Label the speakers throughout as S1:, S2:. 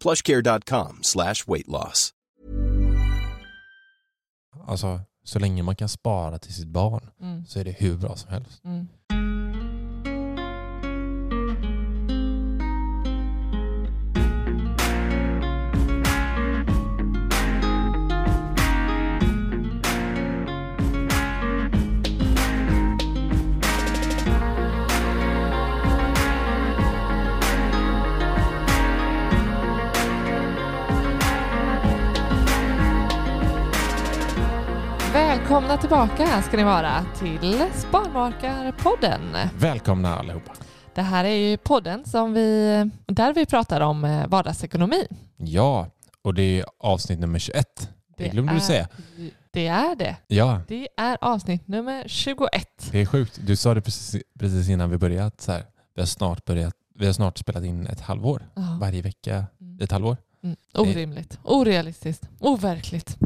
S1: plushcare.com slash weight loss.
S2: Alltså, så länge man kan spara till sitt barn
S3: Mm.
S2: så är det hur bra som helst.
S3: Mm. Välkomna tillbaka ska ni vara till Sparmakarpodden.
S2: Välkomna allihopa.
S3: Det här är ju podden som vi, där vi pratar om eh, vardagsekonomi.
S2: Ja, och det är avsnitt nummer 21. Det glömde
S3: är,
S2: du säga.
S3: Det är det.
S2: Ja,
S3: Det är avsnitt nummer 21.
S2: det är sjukt. Du sa det precis, precis innan vi började. Så här, vi, har snart börjat vi har snart spelat in ett halvår.
S3: Ja.
S2: Varje vecka
S3: Mm.
S2: ett halvår.
S3: Mm. Orimligt, orealistiskt, overkligt.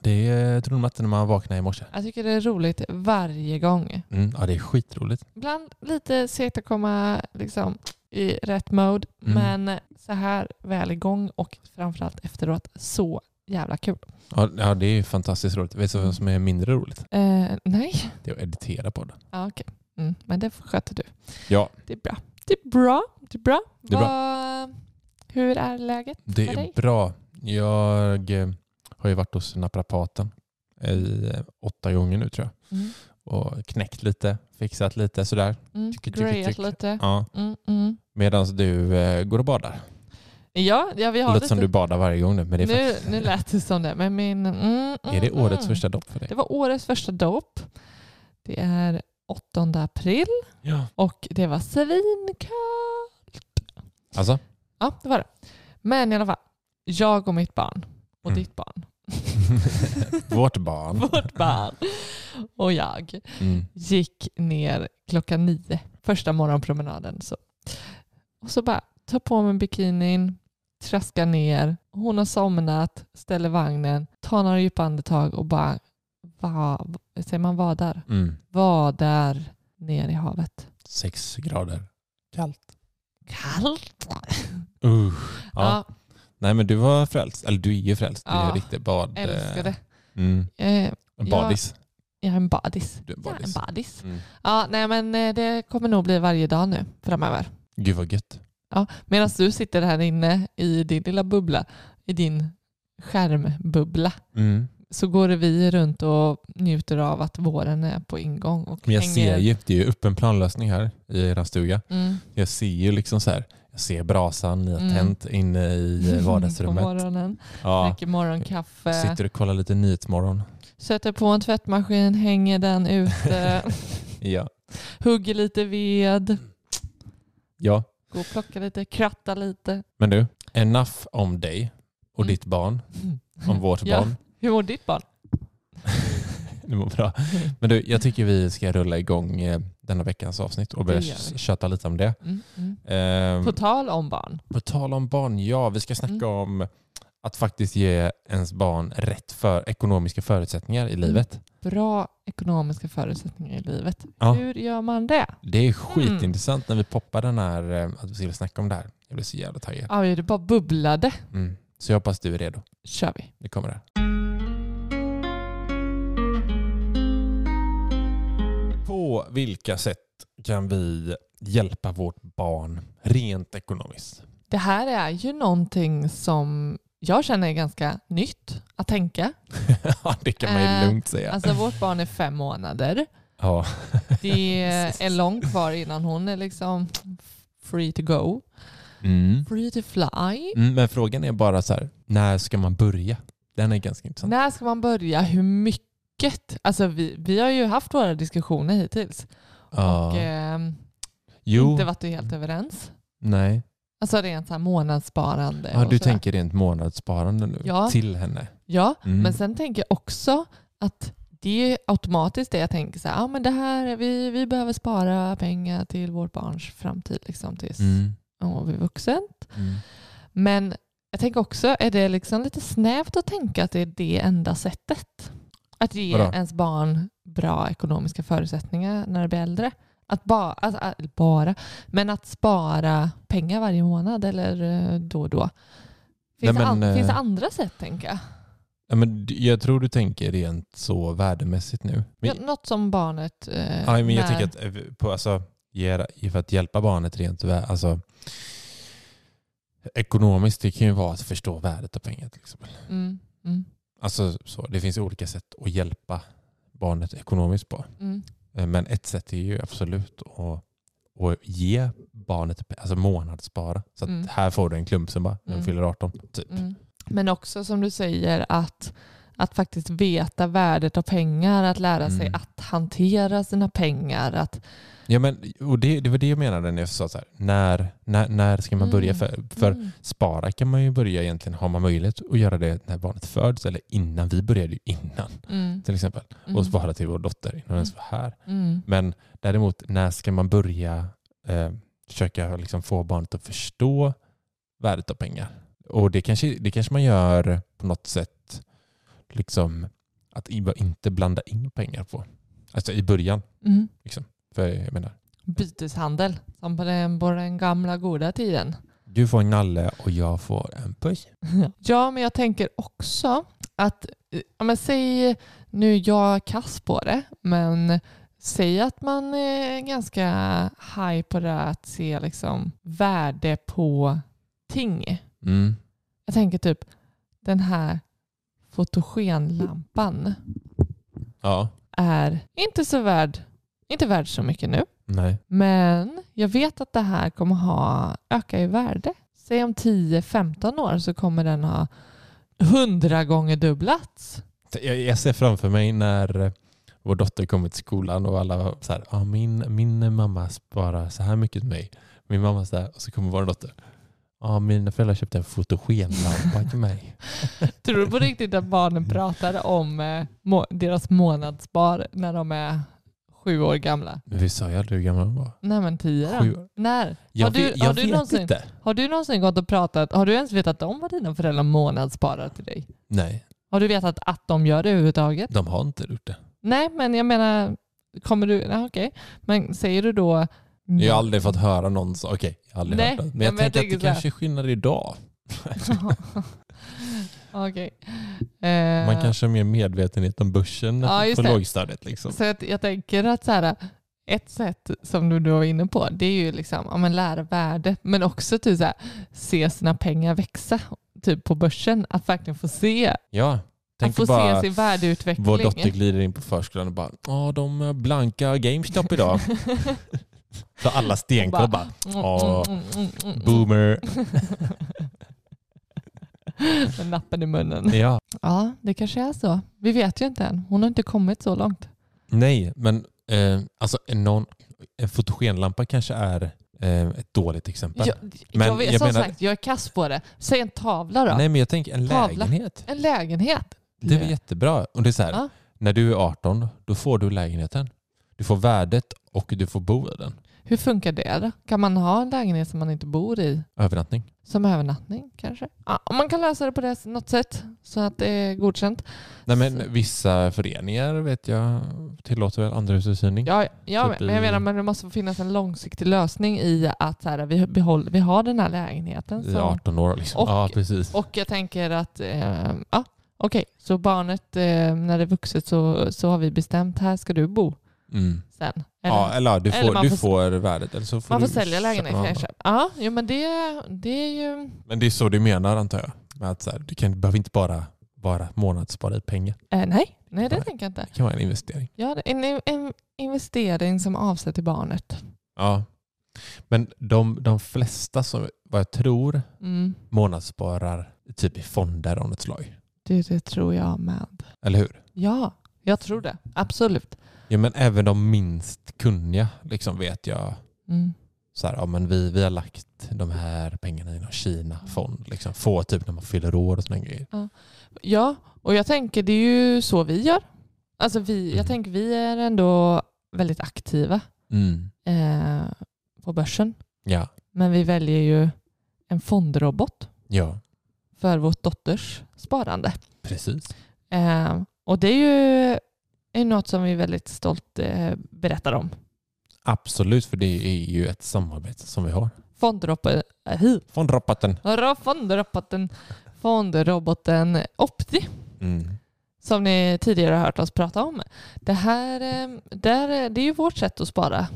S2: Det eh, trodde man inte när man vaknade i morse.
S3: Jag tycker det är roligt varje gång.
S2: Mm, ja, det är skitroligt.
S3: Ibland lite segt att komma liksom, i rätt mode,
S2: Mm.
S3: men så här väl igång och framförallt efteråt så jävla kul.
S2: Ja, ja, det är fantastiskt roligt. Vet du vad som är mindre roligt?
S3: Eh, nej,
S2: Det är att editera podden.
S3: ja, okej. Mm, men det sköter du.
S2: Ja,
S3: Det är bra. Det är bra. Det är bra.
S2: Det är bra.
S3: Vad- Hur är läget?
S2: det
S3: Med dig?
S2: är bra. Jag eh, har ju varit hos naprapaten i eh, åtta gånger nu tror jag.
S3: Mm.
S2: och knäckt lite, fixat lite sådär.
S3: Mm.
S2: Tycker, tycker,
S3: Grejat
S2: tycker.
S3: lite.
S2: Ja.
S3: Mm, mm.
S2: Medan du eh, går och badar.
S3: Ja, ja, vi har
S2: Låter
S3: lite...
S2: som du badar varje gång nu. Men det är,
S3: nu, nu lät det som det, men min... Mm,
S2: faktiskt- är det
S3: mm,
S2: årets
S3: mm.
S2: första dopp för dig?
S3: Det var årets första dopp. Det är 8 april
S2: Ja.
S3: och det var svinkallt.
S2: Alltså?
S3: Ja, det var det. Men i alla fall, jag och mitt barn och
S2: Mm.
S3: ditt barn,
S2: Vårt barn.
S3: vårt barn och jag
S2: Mm.
S3: gick ner klockan nio, första morgonpromenaden. Så. Och så bara ta på mig bikinin, traska ner, hon har somnat, ställer vagnen, tar några djupa andetag och bara va, säger man vadar?
S2: Mm.
S3: Vadar ner i havet.
S2: Sex grader. Kallt.
S3: Kallt.
S2: Uh. Ja.
S3: Ja,
S2: Nej men du var frälst. Eller du är ju frälst. Du är
S3: Ja,
S2: ju riktigt bad...
S3: älskar det.
S2: Mm.
S3: Eh,
S2: En
S3: Ja.
S2: badis.
S3: Jag är en badis.
S2: Du är en
S3: Jag är en
S2: badis.
S3: badis.
S2: Mm.
S3: Ja, nej men eh, det kommer nog bli varje dag nu framöver.
S2: Gud vad gött.
S3: Ja, Medan du sitter här inne i din lilla bubbla, i din skärmbubbla,
S2: Mm.
S3: så går vi runt och njuter av att våren är på ingång. Och
S2: Men jag
S3: hänger-
S2: ser ju, det är ju öppen planlösning här i eran stuga.
S3: Mm,
S2: Jag ser ju liksom så här, jag ser brasan, ni har
S3: Mm.
S2: tänt inne i eh,
S3: På
S2: vardagsrummet.
S3: morgonen, eh,
S2: Ja,
S3: dricker morgonkaffe,
S2: sitter och kollar lite Nyhetsmorgon.
S3: sätter på en tvättmaskin, hänger den ute,
S2: Ja.
S3: hugger lite ved,
S2: ja,
S3: går och plockar lite, krattar lite.
S2: men du, enough om dig och
S3: Mm.
S2: ditt barn, om vårt
S3: Ja.
S2: barn.
S3: Hur mår ditt barn?
S2: Det mår bra. Men du, jag tycker vi ska rulla igång eh, denna veckans avsnitt och
S3: Det
S2: börja
S3: gör vi.
S2: s- köta lite om det.
S3: Mm, mm.
S2: Ehm,
S3: På tal om barn.
S2: På tal om barn, ja, vi ska snacka
S3: Mm.
S2: om Att faktiskt ge ens barn rätt för ekonomiska förutsättningar
S3: Mm.
S2: i livet.
S3: Bra ekonomiska förutsättningar i livet.
S2: Ja.
S3: Hur gör man det?
S2: Mm. Det är skitintressant
S3: Mm.
S2: när vi poppar den här, eh, att vi skulle snacka om det här. Jag blir så jävla taggad.
S3: Ja, det bara bubblade.
S2: Mm. Så jag hoppas du är redo.
S3: kör vi.
S2: Det kommer här. På vilka sätt kan vi hjälpa vårt barn rent ekonomiskt?
S3: Det här är ju någonting som jag känner är ganska nytt att tänka.
S2: Ja, det kan man ju
S3: Eh,
S2: lugnt säga.
S3: Alltså vårt barn är fem månader.
S2: ja.
S3: Det är långt kvar innan hon är liksom free to go.
S2: Mm.
S3: Free to fly.
S2: Mm, men frågan är bara så här, när ska man börja? Den är ganska intressant.
S3: När ska man börja? Hur mycket? Alltså vi, vi har ju haft våra diskussioner hittills.
S2: Ja.
S3: Och, ehm,
S2: jo,
S3: inte varit helt överens.
S2: nej.
S3: Alltså rent så här månadssparande.
S2: Ja,
S3: och
S2: du
S3: sådär.
S2: tänker rent månadssparande nu
S3: Ja.
S2: till henne.
S3: Ja,
S2: Mm.
S3: men sen tänker jag också att det är automatiskt det jag tänker så här, ah, men det här, vi, vi behöver spara pengar till vårt barns framtid liksom tills
S2: Mm.
S3: hon blir vuxen.
S2: Mm.
S3: Men jag tänker också, är det liksom lite snävt att tänka att det är det enda sättet? Att ge
S2: Vadå?
S3: ens barn bra ekonomiska förutsättningar när det blir äldre? Att bara, alltså, att bara, men att spara pengar varje månad eller eh, då och då. Finns,
S2: Nej,
S3: det,
S2: men,
S3: an- finns det
S2: eh,
S3: andra sätt tänker jag?
S2: Ja, men d- jag tror du tänker rent så värdemässigt nu.
S3: Ja,
S2: Men,
S3: något som barnet... Eh,
S2: ja, men jag
S3: när-
S2: tänker att eh, på, alltså, ge- för att hjälpa barnet rent vä- alltså, ekonomiskt, det kan ju vara att förstå värdet av pengar till exempel.
S3: Mm, mm,
S2: Alltså, så, det finns ju olika sätt att hjälpa barnet ekonomiskt på.
S3: mm,
S2: Eh, Men ett sätt är ju absolut att, att ge barnet pe- alltså månadsspara. Så att
S3: Mm.
S2: här får du en klumpsumma när
S3: Mm.
S2: du fyller 18. Typ.
S3: mm. Men också som du säger att, att faktiskt veta värdet av pengar, att lära sig
S2: Mm.
S3: att hantera sina pengar. Att,
S2: Ja, men, och det, det var det jag menade när jag sa så här. När, när, när ska man börja?
S3: Mm.
S2: För, för
S3: Mm,
S2: spara kan man ju börja egentligen, har man möjlighet att göra det när barnet föds eller innan. Vi började ju innan
S3: mm,
S2: till exempel.
S3: mm,
S2: Och spara till vår dotter innan hon ens var här.
S3: mm,
S2: Men däremot, när ska man börja eh, försöka liksom få barnet att förstå värdet av pengar? Och det kanske, det kanske man gör på något sätt, liksom att i- inte blanda in pengar på. Alltså i början.
S3: mm.
S2: För jag menar,
S3: Byteshandel, som på den, på den gamla goda tiden.
S2: du får en nalle och jag får en puss.
S3: Ja, men jag tänker också att, eh, ja, men säg, nu är jag kass på det, men säg att man är ganska high på det här att se liksom värde på ting.
S2: Mm.
S3: Jag tänker typ den här fotogenlampan
S2: Ja.
S3: är inte så värd, inte värd så mycket nu,
S2: Nej.
S3: men jag vet att det här kommer ha öka i värde. Säg om 10-15 år så kommer den ha hundra gånger dubblats.
S2: Jag, jag ser framför mig när eh, vår dotter kommer till skolan och alla var så här, ah, min, min mamma sparar så här mycket till mig. Min mamma så här, och så kommer vår dotter. Ja, ah, mina föräldrar köpte en fotogenlampa till mig.
S3: Tror du på riktigt att barnen pratar om eh, må- deras månadsspar när de är sju år gamla?
S2: Men vi sa ju aldrig hur gammal hon var.
S3: Nej men tio
S2: Sju
S3: då?
S2: år.
S3: När?
S2: Jag,
S3: Har du-
S2: vet-
S3: har
S2: jag
S3: du
S2: vet
S3: någonsin-
S2: inte.
S3: Har du någonsin gått och pratat, har du ens vetat om vad dina föräldrar månadssparar till dig?
S2: Nej,
S3: Har du vetat att de gör det överhuvudtaget?
S2: de har inte gjort det.
S3: Nej men jag menar, kommer du, nej okej, men säger du då...
S2: Jag har aldrig fått höra någon så, okej, jag har aldrig
S3: Nej,
S2: hört det. Men
S3: men
S2: jag
S3: jag
S2: tänker att
S3: tänker
S2: det
S3: så här.
S2: kanske är skillnad idag.
S3: Okej. Eh,
S2: Man kanske har mer medvetenhet om börsen
S3: Ja, just
S2: på
S3: det.
S2: lågstadiet. Liksom.
S3: Så att jag tänker att så här, ett sätt som du, du var inne på, det är ju liksom, ja, men lära värde, men också typ så här, se sina pengar växa typ på börsen. Att verkligen få se,
S2: Ja,
S3: att
S2: tänk
S3: få
S2: bara...
S3: se sin värdeutveckling.
S2: Vår dotter glider in på förskolan och bara ja de blankar GameStop idag. Så alla stenkoll
S3: Hon
S2: bara
S3: Mm,
S2: Ja.
S3: mm, mm, mm, mm.
S2: boomer.
S3: Med nappen i munnen.
S2: Ja.
S3: Ja, det kanske är så. Vi vet ju inte än. Hon har inte kommit så långt.
S2: Nej, men eh, alltså en, någon, en fotogenlampa kanske är eh, ett dåligt exempel.
S3: Jag,
S2: Men
S3: jag vet,
S2: jag
S3: som
S2: menar-
S3: sagt, jag är kass på det. Säg en tavla då.
S2: Nej men jag tänker en
S3: Tavla.
S2: lägenhet.
S3: En lägenhet.
S2: Det är
S3: Ja.
S2: väl jättebra. Och det är så här,
S3: Ja.
S2: När du är 18 då får du lägenheten. Du får värdet och du får bo i den.
S3: Hur funkar det då? Kan man ha en lägenhet som man inte bor i?
S2: Övernattning.
S3: Som övernattning kanske? Ja, om man kan lösa det på det, något sätt så att det är godkänt.
S2: Nej,
S3: Så-
S2: men vissa föreningar vet jag tillåter väl andrahusuthyrning.
S3: Ja, ja
S2: Typ
S3: men jag
S2: i-
S3: menar men det måste finnas en långsiktig lösning i att så här, vi, behåller, vi har den här lägenheten.
S2: I
S3: som-
S2: 18 år liksom.
S3: Och-
S2: ja, precis.
S3: Och jag tänker att, eh, ja, okej, så barnet, eh, när det är vuxet så, så har vi bestämt, här ska du bo
S2: mm.
S3: sen. Eller,
S2: Ja, eller ja, du får,
S3: eller man
S2: du
S3: får-
S2: får, värdet. Eller så får
S3: man får
S2: du
S3: sälja
S2: köpa
S3: lägenheten
S2: någon
S3: kanske.
S2: annan.
S3: Ja, jo, men det, det är ju...
S2: Men det är så du menar antar jag? Med att så här, du kan, behöver inte bara vara månadsspara i pengar.
S3: Eh, nej, nej det
S2: Nej.
S3: tänker jag inte.
S2: Det kan vara en investering.
S3: Ja, det är en, en investering som avser till barnet.
S2: Ja. Men de, de flesta som, vad jag tror,
S3: Mm,
S2: månadssparar typ i fonder av något slag.
S3: det, det tror jag med.
S2: Eller hur?
S3: Ja, jag tror det. Absolut.
S2: Ja, men även de minst kunniga liksom vet jag.
S3: Mm.
S2: Så här, ja, men vi, vi har lagt de här pengarna i någon Kina-fond. Liksom. Få typ när man fyller år och sådana grejer.
S3: Ja, och jag tänker det är ju så vi gör. Alltså vi,
S2: Mm.
S3: Jag tänker vi är ändå väldigt aktiva eh, på börsen.
S2: Ja.
S3: Men vi väljer ju en fondrobot
S2: ja,
S3: för vårt dotters sparande.
S2: precis.
S3: Eh, och det är ju är något som vi är väldigt stolt eh, berättar om.
S2: Absolut, för det är ju ett samarbete som vi har.
S3: Fondroboten, eh, hi,
S2: Fondroboten.
S3: Hurra, fondroboten, fondroboten Opti
S2: Mm.
S3: som ni tidigare har hört oss prata om. Det här eh, där, eh, det är ju vårt sätt att spara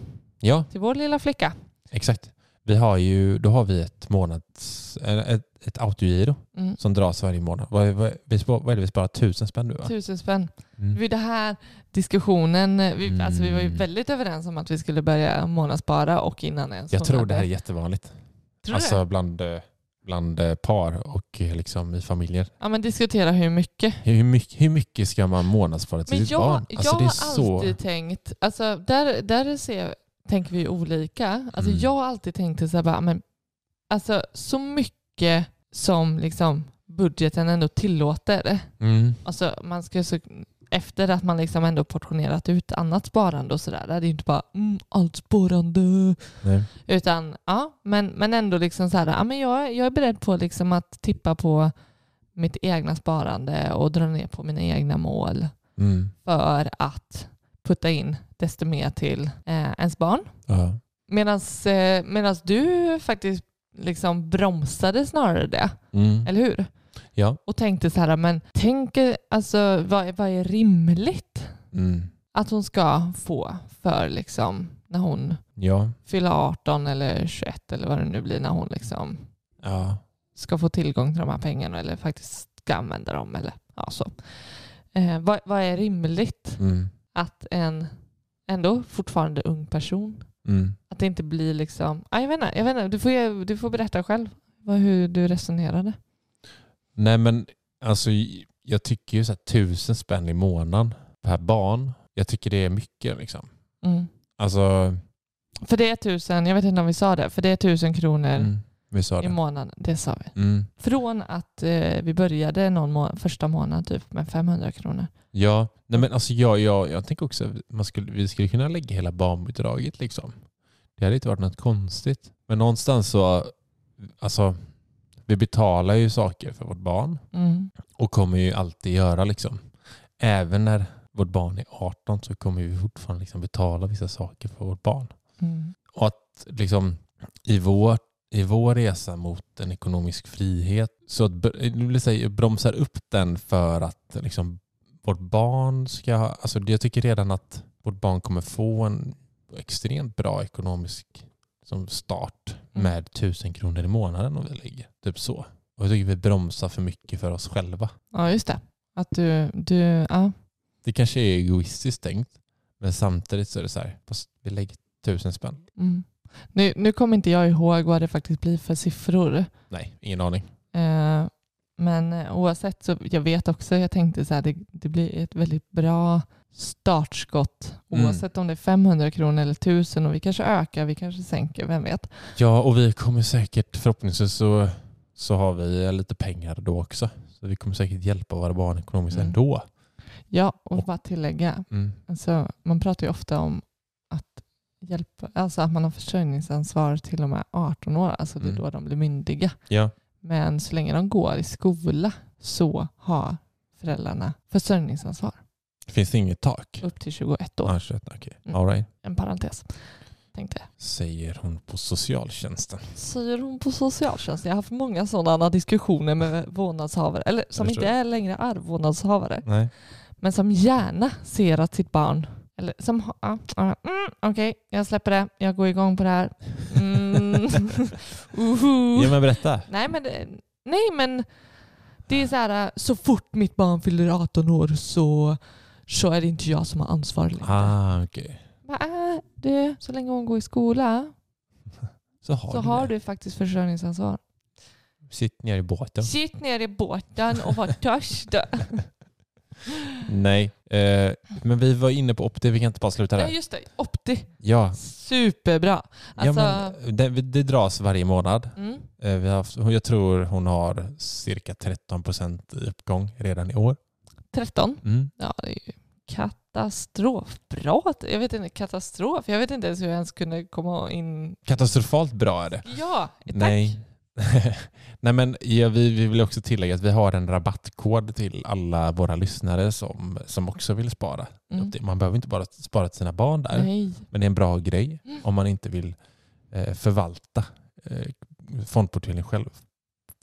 S2: Ja,
S3: till vår lilla flicka.
S2: exakt. Vi har ju, då har vi ett månads, eh, ett, ett autogiro
S3: Mm.
S2: som dras varje månad. Vad, är- vad, är- vi spar, vad är det vi sparar? Tusen spänn nu va?
S3: Tusen spänn. Det var
S2: Mm.
S3: ju det här diskussionen, eh, vi, alltså vi var ju
S2: Mm.
S3: väldigt överens om att vi skulle börja månadsspara och innan ens
S2: Jag tror
S3: hon
S2: det här är
S3: hade-
S2: jättevanligt.
S3: Tror du det?
S2: Alltså bland, eh, bland eh, par och eh, liksom i familjer.
S3: Ja men diskutera hur mycket.
S2: Hur mycket, hur mycket ska man månadsspara till
S3: Men
S2: sitt
S3: jag,
S2: barn? Alltså,
S3: jag
S2: det är
S3: har
S2: så...
S3: alltid tänkt, alltså där, där ser, tänker vi ju olika. Alltså
S2: Mm.
S3: jag har alltid tänkt så här bara, men alltså så mycket som liksom budgeten ändå tillåter.
S2: Mm.
S3: Alltså man ska ju så, efter att man liksom ändå portionerat ut annat sparande och sådär, det är ju inte bara mm, allt sparande.
S2: Nej.
S3: Utan ja, men, men ändå liksom så här, ja, men jag, jag är beredd på liksom att tippa på mitt egna sparande och dra ner på mina egna mål
S2: Mm.
S3: för att putta in desto mer till eh, ens barn.
S2: Ja.
S3: Medan eh, medans du faktiskt liksom bromsade snarare det,
S2: Mm.
S3: eller hur?
S2: Ja.
S3: Och tänkte så här, men tänk eh, alltså, vad, är- vad är rimligt
S2: Mm.
S3: att hon ska få för liksom när hon
S2: ja.
S3: fyller 18 eller 21 eller vad det nu blir när hon liksom
S2: Ja.
S3: ska få tillgång till de här pengarna eller faktiskt ska använda dem eller ja, så. Eh, vad, vad är rimligt?
S2: Mm.
S3: att en ändå fortfarande ung person,
S2: Mm.
S3: att det inte blir liksom, ah, jag vet inte, jag vet inte du, får, du får berätta själv vad, hur du resonerade.
S2: Nej men alltså jag tycker ju så här, tusen spänn i månaden per barn. Jag tycker det är mycket liksom.
S3: Mm.
S2: Alltså,
S3: För det är tusen, jag vet inte om vi sa det, för det är tusen kronor
S2: mm, vi sa
S3: i
S2: det.
S3: månaden. Det sa vi.
S2: Mm.
S3: Från att eh, vi började någon må- första månad typ med 500 kronor.
S2: Ja, nej men alltså jag, jag, jag tänker också att man skulle, vi skulle kunna lägga hela barnbidraget liksom. Det hade inte varit något konstigt. Men någonstans så, alltså vi betalar ju saker för vårt barn
S3: Mm.
S2: och kommer ju alltid göra liksom. Även när vårt barn är 18 så kommer vi fortfarande liksom betala vissa saker för vårt barn.
S3: Mm.
S2: Och att liksom i vår, i vår resa mot en ekonomisk frihet så att br- nu vill jag säga, bromsar upp den för att liksom vårt barn ska, alltså jag tycker redan att vårt barn kommer få en extremt bra ekonomisk som start
S3: Mm.
S2: med tusen kronor i månaden om vi lägger. Typ så. Och jag tycker vi bromsar för mycket för oss själva.
S3: Ja, just det. Att du, du ja.
S2: Det kanske är egoistiskt tänkt, men samtidigt så är det så här, fast vi lägger tusen spänn.
S3: Mm. Nu, nu kommer inte jag ihåg vad det faktiskt blir för siffror.
S2: Nej, ingen aning.
S3: Eh, Men eh, oavsett så jag vet också, jag tänkte så här, det, det blir ett väldigt bra startskott
S2: Mm.
S3: oavsett om det är 500 kronor eller 1000 och vi kanske ökar, vi kanske sänker, vem vet.
S2: Ja, och vi kommer säkert, förhoppningsvis så, så har vi eh, lite pengar då också. Så vi kommer säkert hjälpa våra barn ekonomiskt
S3: Mm.
S2: ändå.
S3: Ja, och
S2: Och-
S3: bara tillägga,
S2: Mm.
S3: alltså, man pratar ju ofta om att hjälpa, alltså att man har försörjningsansvar till och med 18 år, alltså det är
S2: Mm.
S3: då de blir myndiga.
S2: Ja.
S3: Men så länge de går i skola så har föräldrarna försörjningsansvar
S2: Finns det inget tak?
S3: upp till 21 år.
S2: Ah, shit, okej.
S3: Mm.
S2: All right.
S3: En parentes, tänkte jag.
S2: Säger hon på socialtjänsten.
S3: Säger hon på socialtjänsten. Jag har haft många sådana diskussioner med vårdnadshavare, eller som
S2: Jag
S3: inte
S2: förstår.
S3: är längre arvvårdnadshavare,
S2: Nej.
S3: men som gärna ser att sitt barn, eller som har, ah, ah, mm, okej, jag släpper det, jag går igång på det här. Mm. Uhu.
S2: Ja men berätta.
S3: Nej men, det- nej men det är så här, så fort mitt barn fyller 18 år så, så är det inte jag som har ansvar längre.
S2: Ah, okej.
S3: Bara, "Äh, du, så länge hon går i skola
S2: Så har
S3: så
S2: du,
S3: har
S2: det.
S3: du faktiskt försörjningsansvar.
S2: Sitt ner i båten.
S3: Sitt ner i båten och var törstig.
S2: Nej. Eh, men vi var inne på opti, vi kan inte bara sluta
S3: Nej
S2: där.
S3: just det, Opti.
S2: Ja.
S3: Superbra. Alltså,
S2: ja men eh, det, det dras varje månad.
S3: mm,
S2: Eh, Vi har haft, jag tror hon har cirka 13 procent i uppgång redan i år.
S3: 13.
S2: Mm.
S3: Ja det är ju katastrof. Bra. att- Jag vet inte, katastrof. Jag vet inte ens hur jag ens kunde komma in.
S2: Katastrofalt bra är det.
S3: Ja, tack.
S2: Nej. Nej men ja, vi, vi vill också tillägga att vi har en rabattkod till alla våra lyssnare som, som också vill spara.
S3: Mm.
S2: Man behöver inte bara spara till sina barn där,
S3: Nej.
S2: men det är en bra grej
S3: Mm.
S2: om man inte vill eh, förvalta eh, fondportföljen själv.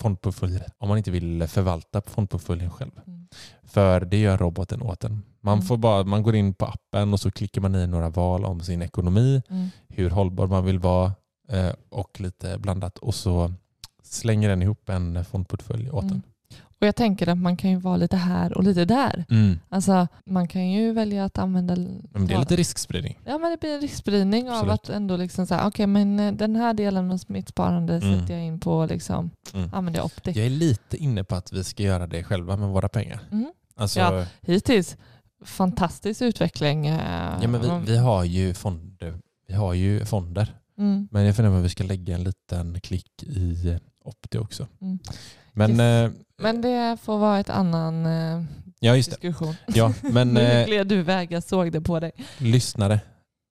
S2: Fondportföljen. Om man inte vill förvalta fondportföljen själv.
S3: Mm.
S2: För det gör roboten åt en. Man,
S3: Mm.
S2: får bara, man går in på appen och så klickar man i några val om sin ekonomi,
S3: Mm.
S2: hur hållbar man vill vara eh, och lite blandat. Och så slänger den ihop en fondportfölj åt
S3: Mm. Och jag tänker att man kan ju vara lite här och lite där.
S2: en. Mm.
S3: Alltså man kan ju välja att använda...
S2: Men det är lite riskspridning.
S3: Ja men det blir en riskspridning av
S2: Absolut.
S3: att ändå liksom säga okej men eh, den här delen av mitt sparande
S2: Mm.
S3: sätter jag in på liksom,
S2: Mm.
S3: använder jag opti.
S2: Jag är lite inne på att vi ska göra det själva med våra pengar.
S3: Mm.
S2: Alltså,
S3: Ja.
S2: ja.
S3: Hittills fantastisk utveckling. eh,
S2: men vi, vi, har ju fonder, vi har ju fonder.
S3: Mm.
S2: Men jag funderar på om vi ska lägga en liten klick i Opti också.
S3: Mm.
S2: Men,
S3: Yes.
S2: eh,
S3: Men det får vara ett annan eh,
S2: ja, just det.
S3: diskussion.
S2: Ja, men,
S3: nu
S2: eh,
S3: gled du iväg, jag såg det på dig.
S2: lyssnare,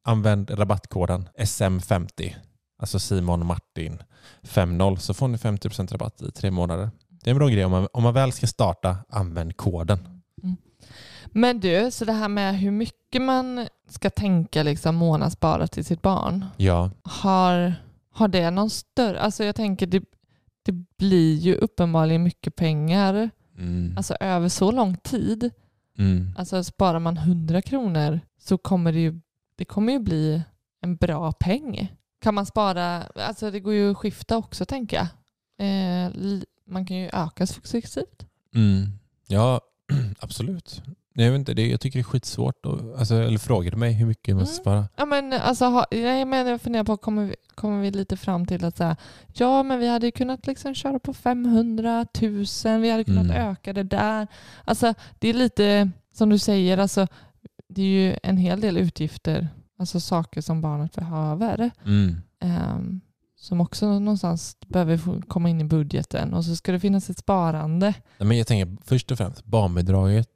S2: använd rabattkoden SM50, alltså Simon Martin 50, så får ni 50% rabatt i tre månader. Det är en bra grej om man, om man väl ska starta, använd koden.
S3: Men du, så det här med hur mycket man ska tänka liksom månadsspara till sitt barn.
S2: Ja,
S3: Har, har det någon större... Alltså jag tänker det, det blir ju uppenbarligen mycket pengar.
S2: mm.
S3: Alltså över så lång tid.
S2: Mm.
S3: Alltså sparar man 100 kronor så kommer det ju, det kommer ju bli en bra peng. Kan man spara... Alltså det går ju att skifta också tänker jag. Eh, li- man kan ju öka successivt.
S2: Mm. ja absolut. Nej, Jag, vet inte, det, jag tycker det är skitsvårt. Och, alltså, eller frågar du mig hur mycket man ska
S3: Mm.
S2: spara?
S3: Ja, men, alltså, ha, nej, men jag funderar på, kommer vi, kommer vi lite fram till att så här, ja, men vi hade ju kunnat liksom köra på 500 000, vi hade kunnat
S2: Mm.
S3: öka det där. Alltså, det är lite som du säger, alltså, det är ju en hel del utgifter, alltså saker som barnet behöver,
S2: Mm.
S3: ehm, som också någonstans behöver få komma in i budgeten. Och så ska det finnas ett sparande.
S2: Nej, men jag tänker först och främst, barnbidraget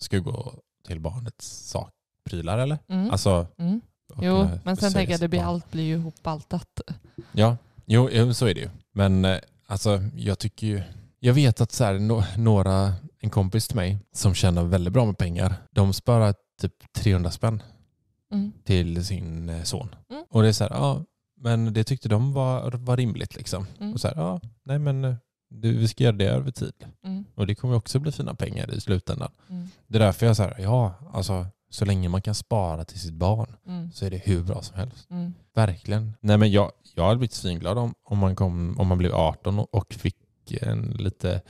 S2: ska gå till barnets sak, prylar eller?
S3: Mm.
S2: Alltså,
S3: Mm.
S2: och
S3: Jo,
S2: kunna
S3: men sen
S2: försörja
S3: tänker jag
S2: sitt
S3: att
S2: barn.
S3: allt blir ju ihopbaltat.
S2: Ja, jo, jo, så är det ju. Men eh, alltså, jag tycker ju... Jag vet att så här, no, några, en kompis till mig som tjänar väldigt bra med pengar, de sparar typ 300 spänn
S3: Mm.
S2: till sin eh, son.
S3: Mm.
S2: Och det är så här, ja, men det tyckte de var, var rimligt liksom.
S3: Mm.
S2: Och så här, ja, nej men eh, du, vi ska göra det över tid.
S3: Mm.
S2: Och det kommer också bli fina pengar i slutändan.
S3: Mm.
S2: Det är därför jag säger, ja, alltså så länge man kan spara till sitt barn
S3: Mm.
S2: så är det hur bra som helst.
S3: Mm.
S2: Verkligen. Nej, men jag, jag hade blivit svinglad om, om, man kom, om man blev 18 och- och fick en lite,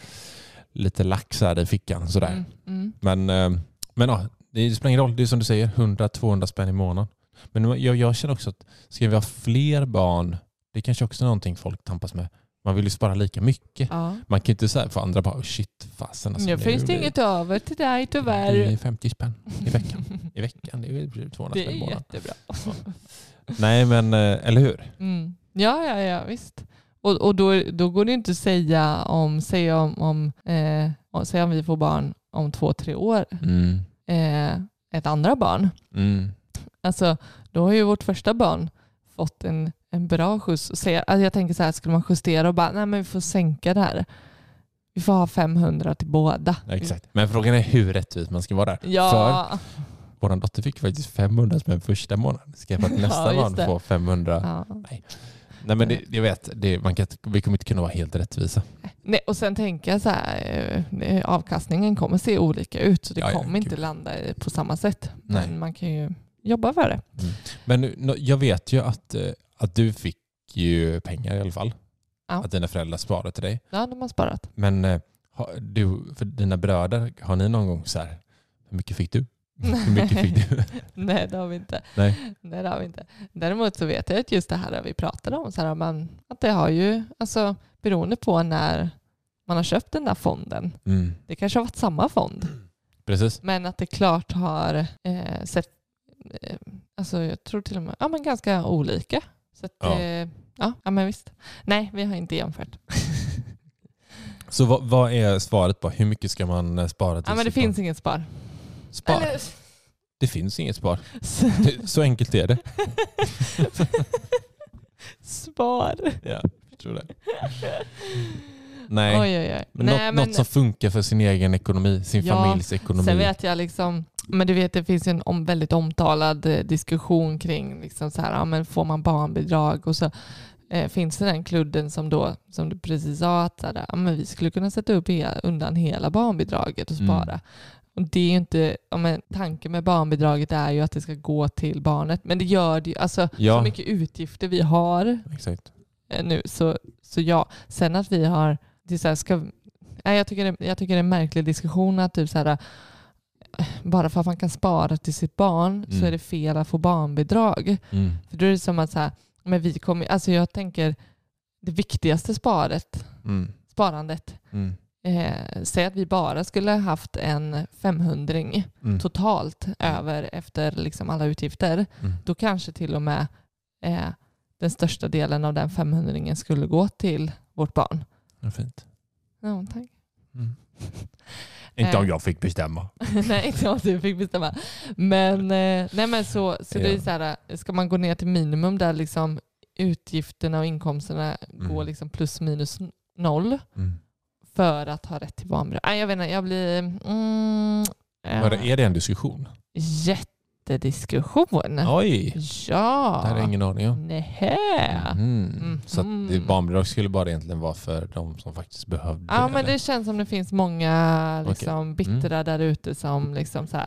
S2: lite lax här i fickan. Sådär.
S3: Mm. Mm.
S2: Men, eh, men ja, det spelar ingen roll. Det är som du säger, 100-200 spänn i månaden. Men jag, jag känner också att ska vi ha fler barn, det är kanske också någonting folk tampas med. Man vill ju spara lika mycket.
S3: Ja.
S2: Man kan ju inte säga för andra bara, "Oh, shit fasen. alltså,
S3: nu finns det
S2: blir-
S3: inget över till dig
S2: Det är
S3: tyvärr.
S2: 50 spänn i veckan. I veckan, det är 200
S3: Det
S2: spänn i
S3: är
S2: månaden.
S3: jättebra.
S2: Nej men, eh, eller hur?
S3: Mm. Ja, ja, ja, visst. Och, och då, då går det ju inte att säga om, säga om, om, eh, om, säga om vi får barn om två, tre år,
S2: Mm.
S3: eh, ett andra barn.
S2: Mm.
S3: Alltså, då har ju vårt första barn fått en, en bra skjuts. Och säga, alltså jag tänker så här, skulle man justera och bara, nej men vi får sänka det här. Vi får ha 500 till båda.
S2: Ja, exakt. Men frågan är hur rättvist man ska vara där. För
S3: Ja,
S2: vår dotter fick faktiskt 500 spänn första månaden. Ska jag för att nästa
S3: just
S2: barn
S3: det.
S2: få 500?
S3: ja.
S2: Nej men det, jag vet, det, man kan, inte- vi kommer inte kunna vara helt rättvisa.
S3: Nej, och sen tänker jag så här, eh, avkastningen kommer se olika ut så det
S2: Ja, ja,
S3: kommer inte
S2: gud.
S3: landa i- på samma sätt.
S2: Nej.
S3: Men man kan ju jobba för det.
S2: Men nu- nå- jag vet ju att, eh, att du fick ju pengar i alla fall.
S3: Ja.
S2: Att dina föräldrar sparade till dig.
S3: Ja, de har sparat.
S2: Men eh, har du, för dina bröder, har ni någon gång så här, hur mycket fick du? Hur mycket fick du?
S3: Nej, det har vi inte.
S2: Nej.
S3: Nej, det har vi inte. Däremot så vet jag att just det här vi pratade om, så här, man, att det har ju, alltså beroende på när man har köpt den där fonden,
S2: Mm,
S3: det kanske har varit samma fond,
S2: precis.
S3: men att det klart har eh, sett, eh, alltså jag tror till och med, ja men ganska olika. Så att,
S2: Ja.
S3: ja. Eh, ja, ja, men visst. Nej, vi har inte jämfört.
S2: Så vad, vad är svaret på hur mycket ska man eh, spara till
S3: Ja, men det
S2: sitt barn?
S3: finns inget spar.
S2: Spar?
S3: Eller-
S2: Det finns inget spar. Det- Så enkelt är det.
S3: spar.
S2: Ja, jag tror det. Nej,
S3: Oj, oj, oj.
S2: men
S3: Nej,
S2: något, något som funkar för sin egen ekonomi, sin
S3: Ja,
S2: familjs ekonomi.
S3: Sen vet jag liksom, men du vet det finns ju en om, väldigt omtalad eh, diskussion kring liksom så här, ja, men får man barnbidrag och så eh, finns det den kludden som då, som du precis sa, att så här, ja, men vi skulle kunna sätta upp he, undan hela barnbidraget och
S2: Mm.
S3: spara. Och det är ju inte, ja, men, tanken med barnbidraget är ju att det ska gå till barnet, men det gör det ju, alltså så
S2: Ja,
S3: mycket utgifter vi har
S2: exakt.
S3: eh, nu. Så, så ja, sen att vi har... Det är så här, ska, nej, jag, tycker det, jag tycker det är en märklig diskussion att typ så här, eh, bara för att man kan spara till sitt barn
S2: Mm.
S3: så är det fel att få barnbidrag.
S2: Mm.
S3: För då är det som att så här, men vi kommer, alltså jag tänker det viktigaste sparet,
S2: Mm.
S3: sparandet
S2: Mm.
S3: Eh, säg att vi bara skulle haft en 500
S2: Mm.
S3: totalt över efter liksom alla utgifter.
S2: Mm.
S3: Då kanske till och med eh, den största delen av den 500 skulle gå till vårt barn.
S2: Vad fint.
S3: Ja, tack.
S2: Mm.
S3: Inte om
S2: jag fick bestämma.
S3: nej, inte om du fick bestämma. Men, eh, nej, men så, så det är
S2: Ja.
S3: så här, eh, ska man gå ner till minimum där liksom utgifterna och inkomsterna går
S2: Mm.
S3: liksom plus minus n- noll
S2: Mm.
S3: för att ha rätt till barnbidrag. Nej, jag vet inte, jag blir... Mm, eh,
S2: Var det- Är det en diskussion?
S3: Jättediskussion.
S2: Oj!
S3: Ja.
S2: Det här är ingen aning om.
S3: Nähä.
S2: Mm. Så att det
S3: Mhm.
S2: barnbidrag skulle bara egentligen vara för de som faktiskt behövde
S3: Ja, men
S2: eller?
S3: det känns som det finns många
S2: Mm.
S3: liksom, bittra där ute som liksom så här,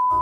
S4: f-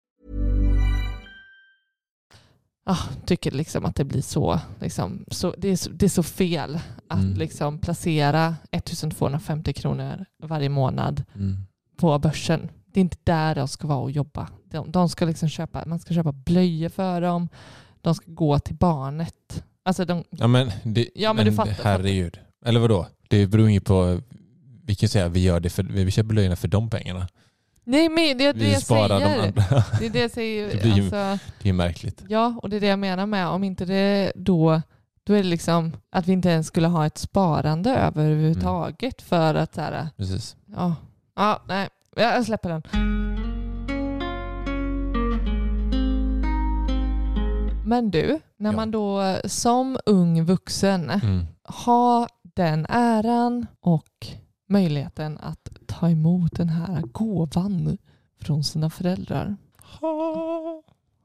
S3: ah, tycker liksom att det blir så, liksom, så, det, är så det är så fel att
S2: Mm.
S3: liksom placera 1250 kronor varje månad
S2: Mm.
S3: på börsen. Det är inte där de ska vara och jobba. De, de ska liksom köpa, man ska köpa blöjor för dem. De ska gå till barnet. Alltså de,
S2: Ja men, det,
S3: Ja, men du fattar, fattar.
S2: herregud. Eller vadå? Det beror ju på, vi kan ju säga att vi gör det för, vi köper blöjorna för de pengarna.
S3: nej men det är det
S2: Vi
S3: jag
S2: sparar de
S3: säger.
S2: andra.
S3: Det är det jag säger.
S2: Det blir ju-
S3: alltså,
S2: Det är märkligt.
S3: Ja, och det är det jag menar med om inte det då, då är det liksom att vi inte ens skulle ha ett sparande överhuvudtaget för att så här,
S2: Precis.
S3: ja, ja, nej, jag släpper den. Men du, när
S2: Ja.
S3: man då som ung vuxen
S2: Mm.
S3: har den äran och möjligheten att ta emot den här gåvan från sina föräldrar.
S2: Ha.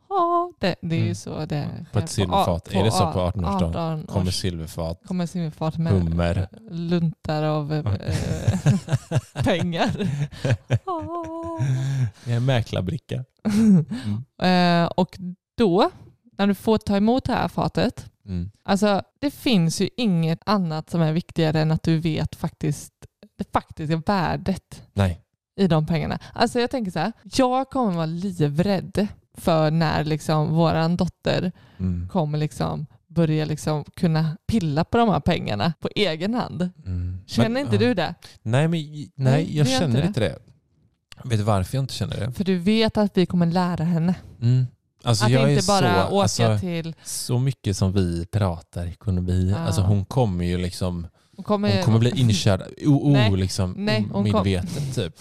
S3: Ja, det, det är ju
S2: Mm.
S3: så det är.
S2: På ett silverfat. Är det så på 18-årsdagen?
S3: 18
S2: Kommer silverfat.
S3: kommer silverfat med
S2: Hummer.
S3: luntar av eh, pengar. Ja.
S2: Det är en mäklarbricka. Mm.
S3: Eh, och då, när du får ta emot det här fatet,
S2: Mm.
S3: alltså det finns ju inget annat som är viktigare än att du vet faktiskt det faktiska värdet
S2: Nej.
S3: i de pengarna. Alltså jag tänker så här, jag kommer vara livrädd för när liksom våran dotter
S2: Mm.
S3: kommer liksom börja liksom kunna pilla på de här pengarna på egen hand.
S2: Mm.
S3: Känner
S2: Men-
S3: inte
S2: ja.
S3: du det?
S2: Nej, men,
S3: Nej,
S2: nej jag
S3: det gör
S2: känner
S3: inte
S2: inte det. Vet du varför jag inte känner det?
S3: För du vet att vi kommer lära henne.
S2: Mm. Alltså,
S3: att
S2: jag
S3: inte
S2: är
S3: bara
S2: så,
S3: åka
S2: alltså,
S3: till...
S2: så mycket som vi pratar ekonomi,
S3: Ja.
S2: alltså hon kommer ju liksom,
S3: Hon kommer,
S2: hon kommer bli inkörd, o, o,
S3: Nej,
S2: liksom,
S3: nej, hon kom-
S2: medvetet typ.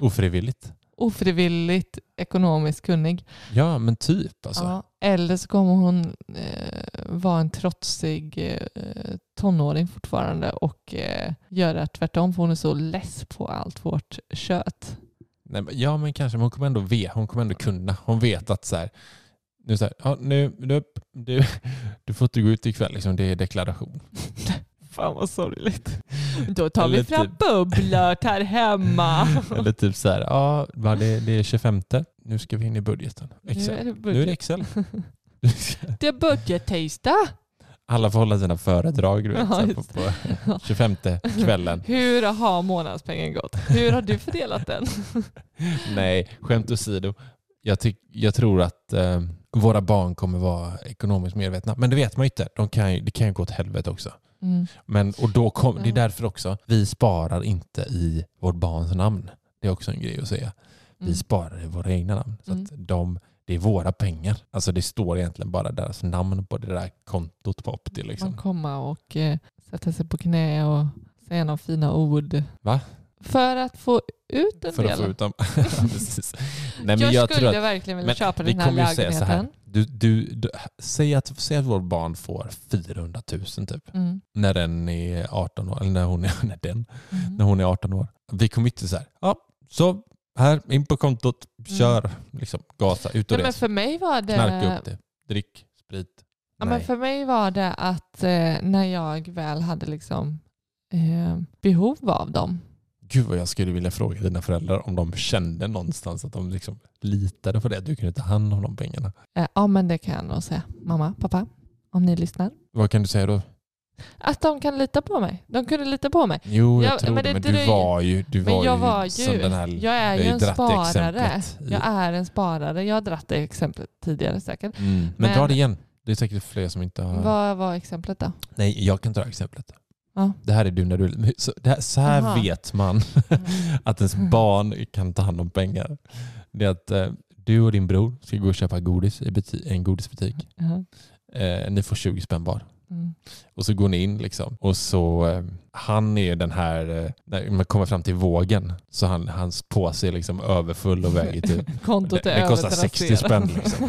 S2: Ofrivilligt.
S3: ofrivilligt ekonomiskt kunnig.
S2: Ja, men typ alltså.
S3: Ja, eller så kommer hon eh, vara en trotsig eh, tonåring fortfarande och eh, göra tvärtom för hon är så less på allt vårt kött.
S2: Nej, men, ja, men kanske, men hon kommer ändå veta, hon kommer ändå kunna. Hon vet att så här, nu så här, ja, nu, du, du, du får inte gå ut ikväll, liksom, det är deklaration.
S3: Fan vad sorgligt. Då tar vi
S2: Eller
S3: fram
S2: typ-
S3: bubblört här hemma.
S2: Eller typ så här, ja, va, det, det är 25, nu ska vi in i budgeten.
S3: Nu
S2: Excel.
S3: är det
S2: Nu är det
S3: budget.
S2: Excel.
S3: Det är budgettisdag.
S2: Alla får hålla sina föredrag du vet,
S3: Ja,
S2: så här, på,
S3: just
S2: på 25 kvällen.
S3: Hur har månadspengen gått? Hur har du fördelat den?
S2: Nej, skämt åsido. Jag, tyck, jag tror att eh, våra barn kommer vara ekonomiskt medvetna. Men det vet man ju inte. De kan ju, det kan ju gå åt helvete också. Men, och då kom, det är
S3: Ja.
S2: därför också, vi sparar inte i vårt barns namn. Det är också en grej att säga. Vi
S3: Mm.
S2: sparar i våra egna namn. Så
S3: Mm.
S2: att de, det är våra pengar. Alltså det står egentligen bara deras namn på det där kontot på Opti.
S3: Man
S2: Liksom.
S3: komma och eh, sätta sig på knä och säga några fina ord.
S2: Va?
S3: För att få ut en
S2: För
S3: del.
S2: att få ut dem. Ja, precis. Nej, men
S3: jag,
S2: jag
S3: skulle
S2: tror att,
S3: verkligen vilja
S2: men
S3: köpa
S2: vi
S3: den här
S2: kommer ju säga
S3: lägenheten.
S2: så här. Du, du, du, säg, att, säg att vårt barn får 400 000 typ.
S3: Mm.
S2: när den är 18 år, eller när hon är, när den,
S3: Mm.
S2: när hon är 18 år. Vi kommer inte så här, ja, så här, in på kontot, kör, liksom, gasa, ut och
S3: Mm. Nej, men
S2: res,
S3: för eh, mig var det...
S2: knarka upp det, drick, sprit.
S3: Ja, men för mig var det att eh, när jag väl hade liksom, eh, behov av dem.
S2: Gud vad jag skulle vilja fråga dina föräldrar om de kände någonstans att de liksom litade på det, att du kunde ta hand om de pengarna.
S3: Eh, ja, men det kan jag nog säga. Mamma, pappa, om ni lyssnar.
S2: Vad kan du säga då?
S3: Att de kan lita på mig. De kunde lita på mig.
S2: Jo, jag
S3: Ja,
S2: tror
S3: men
S2: men
S3: det
S2: det, men du
S3: dröjer.
S2: var ju, du
S3: Men
S2: var
S3: jag
S2: ju
S3: var ju-
S2: som den här...
S3: Jag är
S2: vi
S3: ju
S2: har
S3: en
S2: dratt det
S3: sparare.
S2: exemplet i-
S3: Jag är en sparare. Jag har dratt det exemplet tidigare säkert.
S2: Mm. Men,
S3: Men-
S2: dra det igen. Det är säkert fler som inte har...
S3: Vad var exemplet då?
S2: Nej, jag kan dra exemplet.
S3: Ja.
S2: Det här är du när du... Så, det här, så här
S3: Jaha. Mm.
S2: vet man att ens barn kan ta hand om pengar. Det är att eh, du och din bror ska gå och köpa godis i buti- en godisbutik.
S3: Ja.
S2: Eh, ni får 20 spänn var.
S3: Mm.
S2: Och så går ni in liksom. Och så, eh, han är ju den här, eh, när man kommer fram till vågen, så han, hans påse är liksom överfull och väger typ. Det,
S3: Kontot är
S2: det kostar
S3: övertrasserat.
S2: 60 spänn liksom.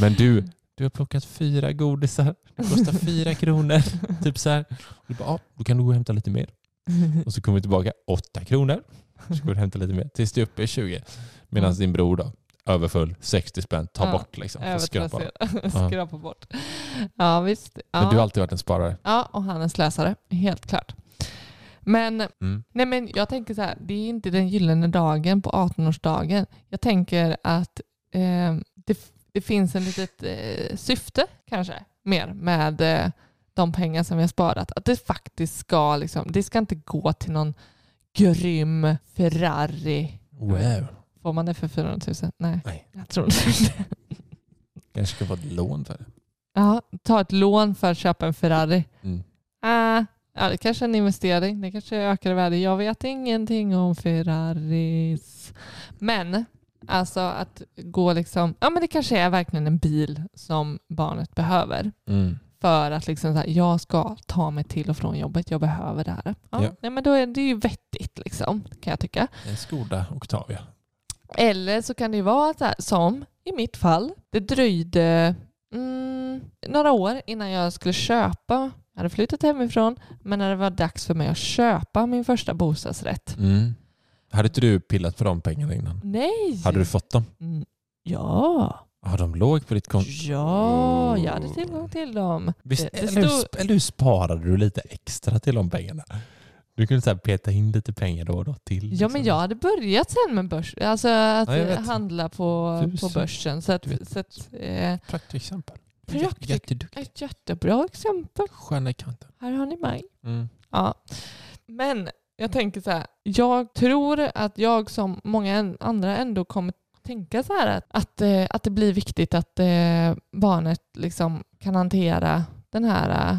S2: Men du, du har plockat fyra godisar. Det kostar fyra kronor. Typ så här. Och du bara, ja, då kan du gå och hämta lite mer. Och så kommer vi tillbaka, åtta kronor. Så går du och hämtar lite mer tills du är uppe i 20. Medan
S3: Mm.
S2: din bror då, överfull, 60 spänn, ta
S3: Ja,
S2: bort liksom. Får skrapa.
S3: Övertrasserat. Skrapa bort. Ja, visst. Ja.
S2: Men du har alltid varit en sparare.
S3: ja, och han är en slösare. Helt klart. Men
S2: Mm.
S3: Nej men jag tänker så här, det är inte den gyllene dagen på 18-årsdagen. Jag tänker att eh, det, det finns en litet eh, syfte kanske mer med eh, de pengar som vi har sparat. Att det faktiskt ska, liksom, det ska inte gå till någon grym Ferrari.
S2: Wow.
S3: Får man det för 400 000? Nej,
S2: Nej.
S3: jag tror inte det.
S2: Kanske ska få ett lån för det.
S3: ja, Ta ett lån för att köpa en Ferrari.
S2: Mm.
S3: Ah, ja, det kanske är en investering. Det kanske ökar i värde. Jag vet ingenting om Ferraris. Men alltså att gå liksom... Ja, men det kanske är verkligen en bil som barnet behöver.
S2: Mm.
S3: För att liksom så här, jag ska ta mig till och från jobbet. Jag behöver det här. Ja,
S2: Ja.
S3: Nej, men då är det ju vettigt liksom, kan jag tycka.
S2: En Skoda Octavia.
S3: Eller så kan det ju vara så här, som i mitt fall. Det dröjde mm, några år innan jag skulle köpa. Jag hade flyttat hemifrån, men när det var dags för mig att köpa min första bostadsrätt
S2: Mm. Hade inte du pillat för de pengarna innan?
S3: Nej!
S2: Hade du fått dem?
S3: Mm, Ja.
S2: Ja, de låg på ditt konto.
S3: Ja, jag hade tillgång till dem.
S2: Visst,
S3: Det- det
S2: eller, hur,
S3: stod-
S2: sp- eller hur sparade du lite extra till de pengarna? Du kunde så här peta in lite pengar då och då till. liksom.
S3: Ja, men jag hade börjat sen med börs, alltså att
S2: Ja, jag vet.
S3: handla på,
S2: Du
S3: på
S2: ser.
S3: börsen. Så att,
S2: Du vet.
S3: så att, eh,
S2: Praktexempel.
S3: Praktik-
S2: Jätteduktig.
S3: ett jättebra exempel.
S2: Stjärna i kanten.
S3: Här har ni mig.
S2: Mm.
S3: Ja. Men jag tänker så här, jag tror att jag som många en- andra ändå kommer tänka så här att, att, eh, att det blir viktigt att eh, barnet liksom kan hantera den här, eh,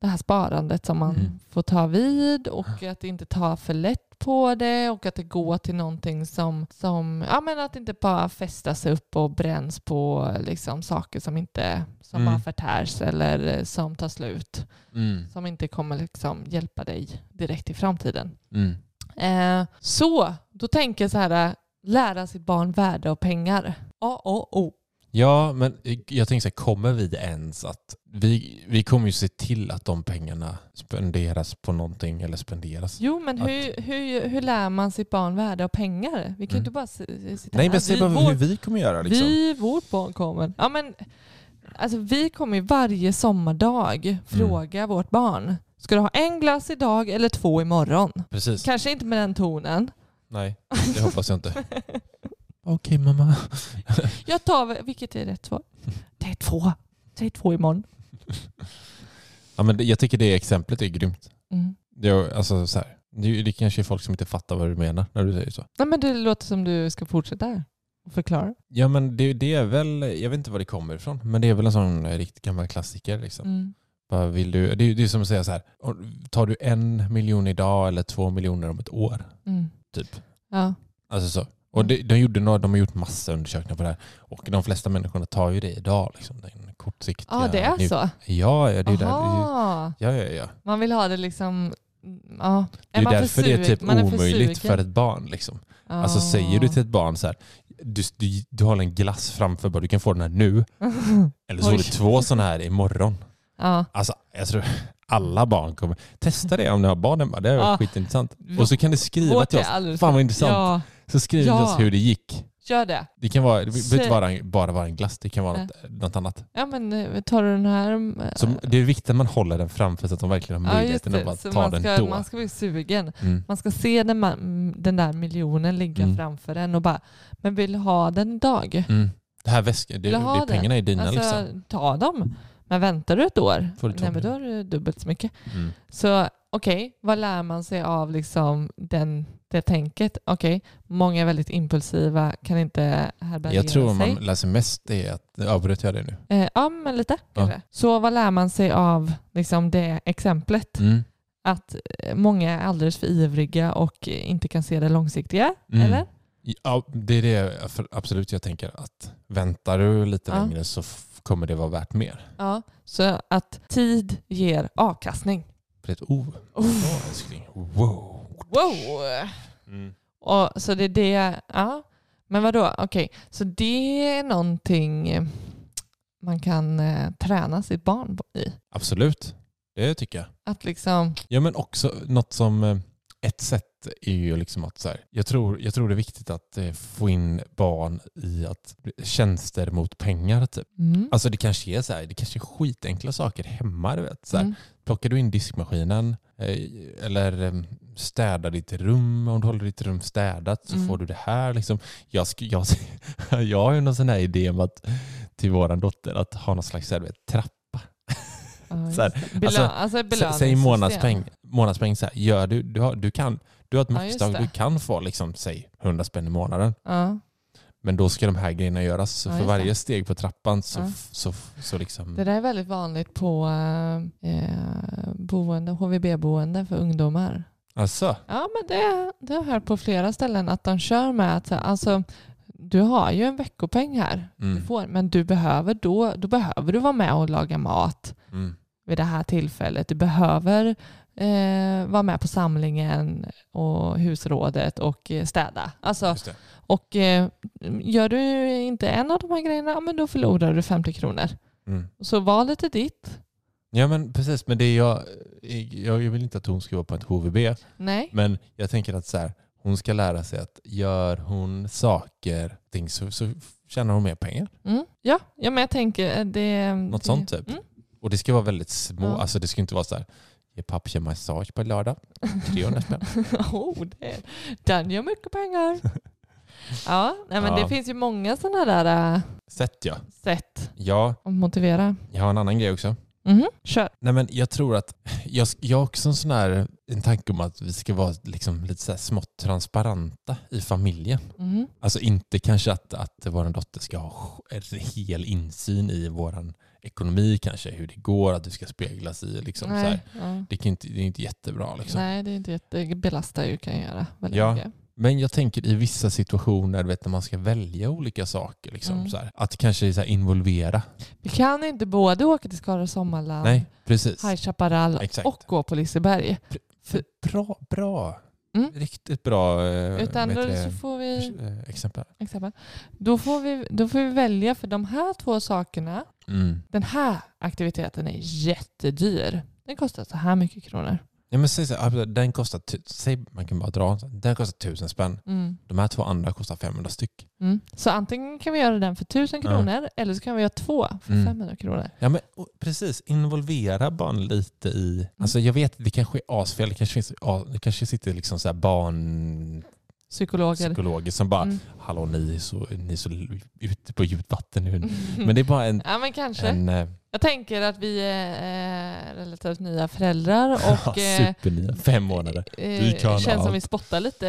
S3: det här sparandet som man
S2: Mm.
S3: får ta vid och att inte ta för lätt på det och att det går till någonting som, som ja men att inte bara fästa sig upp och bränns på liksom saker som inte som
S2: Mm.
S3: bara förtärs eller eh, som tar slut
S2: Mm.
S3: som inte kommer liksom hjälpa dig direkt i framtiden.
S2: Mm.
S3: Eh, så, då tänker jag så här, eh, lära sitt barn värde och pengar. A, O, O.
S2: Ja, men jag tänker så här, kommer vi ens att... Vi, vi kommer ju se till att de pengarna spenderas på någonting eller spenderas.
S3: Jo, men hur, hur, hur lär man sitt barn värde och pengar? Vi kan
S2: Mm.
S3: ju inte bara si- sitta
S2: Nej,
S3: här.
S2: men säg
S3: Vi-
S2: bara
S3: vår-
S2: hur vi kommer göra liksom.
S3: Vi, vårt barn kommer. Ja, men, alltså, vi kommer ju varje sommardag fråga
S2: Mm.
S3: vårt barn. Ska du ha en glass idag eller två imorgon?
S2: Precis.
S3: Kanske inte med den tonen.
S2: Nej, det hoppas jag inte. Okej mamma.
S3: Jag tar, väl- vilket är rätt svar? Det är två. Säg två imorgon.
S2: Ja, men det- jag tycker det exemplet är grymt.
S3: Mm.
S2: Det, är- alltså, så här, det, det kanske är folk som inte fattar vad du menar när du säger så.
S3: Nej, men det låter som du ska fortsätta här och förklara.
S2: Ja men det, det är väl, jag vet inte var det kommer ifrån, men det är väl en sån eh, riktigt gammal klassiker. Liksom.
S3: Mm.
S2: Bara vill du, det, är- det är som att säga så här, tar du en miljon idag eller två miljoner om ett år?
S3: Mm.
S2: Typ.
S3: Ja.
S2: Alltså så. Och det, de, gjorde några, de har gjort massa undersökningar på det här. Och de flesta människorna tar ju det idag. Liksom, den kortsiktiga...
S3: ja, det är
S2: njut-
S3: så.
S2: Ja, ja, det är ju där, det är ju-
S3: Aha.
S2: ja, ja, ja.
S3: Man vill ha det liksom... Ja.
S2: Det är
S3: man
S2: ju
S3: för
S2: därför det är
S3: sur-
S2: typ
S3: man är
S2: omöjligt
S3: sugen?
S2: för ett barn. Liksom.
S3: Ja.
S2: Alltså säger du till ett barn så här, du, du, du har en glass framför dig, du kan få den här nu. Eller så får
S3: Oj.
S2: du två sådana här imorgon.
S3: Ja.
S2: Alltså, jag tror alla barn kommer... Testa det om ni har barn hemma, det är
S3: Ja.
S2: skitintressant. Och så kan ni skriva
S3: Vårt
S2: till
S3: är
S2: oss.
S3: alldeles-
S2: Fan vad intressant.
S3: Ja,
S2: Så skriv till
S3: Ja.
S2: oss hur det gick.
S3: gör det.
S2: Det kan vara, det behöver inte
S3: Så-
S2: vara en- bara vara en glass, det kan vara något, något annat.
S3: Ja, men eh, tar du den här... eh,
S2: Så det är viktigt att man håller den framför så att de verkligen har
S3: ja, just
S2: möjligheten att
S3: det.
S2: bara
S3: Så
S2: ta
S3: man,
S2: den
S3: ska,
S2: då.
S3: man ska bli sugen.
S2: Mm.
S3: Man ska se den, man, den där miljonen ligga
S2: Mm.
S3: framför en och bara, men vill du ha den idag?
S2: Mm. Det här väskan, det,
S3: Vill du ha
S2: det,
S3: det?
S2: pengarna är dina
S3: Alltså,
S2: liksom.
S3: ta dem. Men väntar du ett år,
S2: Får du ta
S3: nej, men
S2: det.
S3: då har du dubbelt så mycket.
S2: Mm.
S3: Så okej, vad lär man sig av liksom den, det tänket? Okej, många är väldigt impulsiva, kan inte härbärgera
S2: Jag tror man
S3: sig.
S2: läser mest är att, avbröt jag det nu?
S3: Eh, ja, men lite kanske. Så vad lär man sig av liksom, det exemplet?
S2: Mm.
S3: Att eh, många är alldeles för ivriga och eh, inte kan se det långsiktiga,
S2: Mm.
S3: eller?
S2: Ja, det är det jag- för absolut jag tänker. att Väntar du lite
S3: Ja.
S2: längre så f- kommer det vara värt mer.
S3: Ja, så att tid ger avkastning.
S2: För ett O. Oh, älskling. Wow.
S3: Wow!
S2: Mm.
S3: Och, så det är det, ja. Men vadå, okej. Så det är någonting eh, man kan eh, träna sitt barn på- i.
S2: Absolut, det tycker jag.
S3: Att liksom,
S2: Ja men också något som eh, ett sätt är ju liksom att så här, jag, tror, jag tror det är viktigt att eh, få in barn i att tjänster mot pengar typ.
S3: mm,
S2: Alltså det kanske är så här, det kanske är skitenkla saker hemma du vet. Så här,
S3: mm,
S2: Plockar du in diskmaskinen eh, eller eh, städar ditt rum, om du håller ditt rum städat så
S3: Mm.
S2: får du det här liksom. Jag, sk- jag, jag har ju någon sån här idé om att till våran dotter att ha någon slags så här, du vet, trapp
S3: ja,
S2: så här,
S3: just det. Belö-
S2: alltså,
S3: alltså,
S2: Sä-
S3: belöningssystem.
S2: Säg månadspeng. Månadspeng så här, gör du, du, har, du, kan, du har ett
S3: Ja,
S2: maxtak,
S3: just det.
S2: du kan få liksom, säg 100 spänn i månaden.
S3: Ja,
S2: Men då ska de här grejerna göras. Så
S3: Ja,
S2: för
S3: just
S2: varje
S3: det.
S2: steg på trappan så,
S3: Ja.
S2: f- så, f- så liksom...
S3: det där är väldigt vanligt på eh, boende, HVB-boende för ungdomar.
S2: Alltså,
S3: Ja, men det, det har jag hört på flera ställen att de kör med att så här, alltså, du har ju en veckopeng här, du
S2: Mm.
S3: får, men du behöver då, då behöver du vara med och laga mat
S2: mm,
S3: vid det här tillfället. Du behöver eh, vara med på samlingen och husrådet och eh, städa. Alltså,
S2: just det.
S3: och eh, gör du inte en av de här grejerna, ja, men då förlorar du 50 kronor.
S2: Mm.
S3: Så valet är ditt.
S2: Ja men precis, men det är jag, jag, jag vill inte att hon ska vara på ett HVB.
S3: Nej.
S2: Men jag tänker att så här, hon- Hon ska lära sig att gör hon saker ting så, så tjänar hon mer pengar.
S3: Mm. Ja, ja, men jag tänker eh, det...
S2: Något
S3: det,
S2: sånt typ.
S3: Mm.
S2: Och det ska vara väldigt små,
S3: Ja.
S2: alltså det ska inte vara så här, ge pappchen massage på lördag, 300 spänn.
S3: oh, det, den gör mycket pengar. Ja, nej, men
S2: Ja.
S3: det finns ju många sådana där eh,
S2: Sätt ja.
S3: sätt
S2: Ja,
S3: att motivera.
S2: jag har en annan grej också.
S3: Mhm, Kör.
S2: Nej men jag tror att, jag, jag har också en sån här, en tanke om att vi ska vara liksom lite så här smått transparenta i familjen.
S3: Mhm.
S2: Alltså inte kanske att, att vår dotter ska ha en hel insyn i vår ekonomi kanske, hur det går, att det ska speglas i liksom så här.
S3: Nej, ja.
S2: Det, kan inte, det är inte jättebra liksom.
S3: Nej, det är inte jätte... Det belastar ju kan göra väldigt
S2: Ja.
S3: mycket.
S2: Men jag tänker i vissa situationer, du vet när man ska välja olika saker, liksom,
S3: Mm.
S2: så här, att kanske så här, involvera.
S3: Vi kan inte både åka till Skara Sommarland,
S2: Nej, precis.
S3: High Chaparral
S2: Exakt.
S3: och gå på Liseberg.
S2: För, bra, bra.
S3: Mm.
S2: Riktigt bra eh,
S3: Utan
S2: vad
S3: då
S2: heter det,
S3: så får vi...
S2: eh, exempel.
S3: Exempel. Då, får vi, då får vi välja för de här två sakerna.
S2: Mm.
S3: Den här aktiviteten är jättedyr. Den kostar så här mycket kronor.
S2: Ja, men säg så här, den kostar, tu- säg, man kan bara dra, en sån. den kostar tusen spänn.
S3: Mm.
S2: De här två andra kostar 500 styck.
S3: Mm. Så antingen kan vi göra den för 1000
S2: Ja.
S3: kronor eller så kan vi göra två för
S2: Mm.
S3: 500 kronor.
S2: Ja, men, och, precis, involvera barn lite i...
S3: Mm.
S2: Alltså, jag vet, det kanske är asfel, det kanske, finns, ja, det kanske sitter liksom så här barnpsykologer
S3: Psykologer.
S2: som bara
S3: Mm.
S2: Hallå, ni är så, ni är så ute på djupt vatten nu. Men det är bara en...
S3: Ja men Mm. kanske.
S2: en eh,
S3: Jag tänker att vi är eh, relativt nya föräldrar och eh,
S2: supernya, fem månader.
S3: eh,
S2: Vi kan
S3: känns som
S2: allt.
S3: vi spottar lite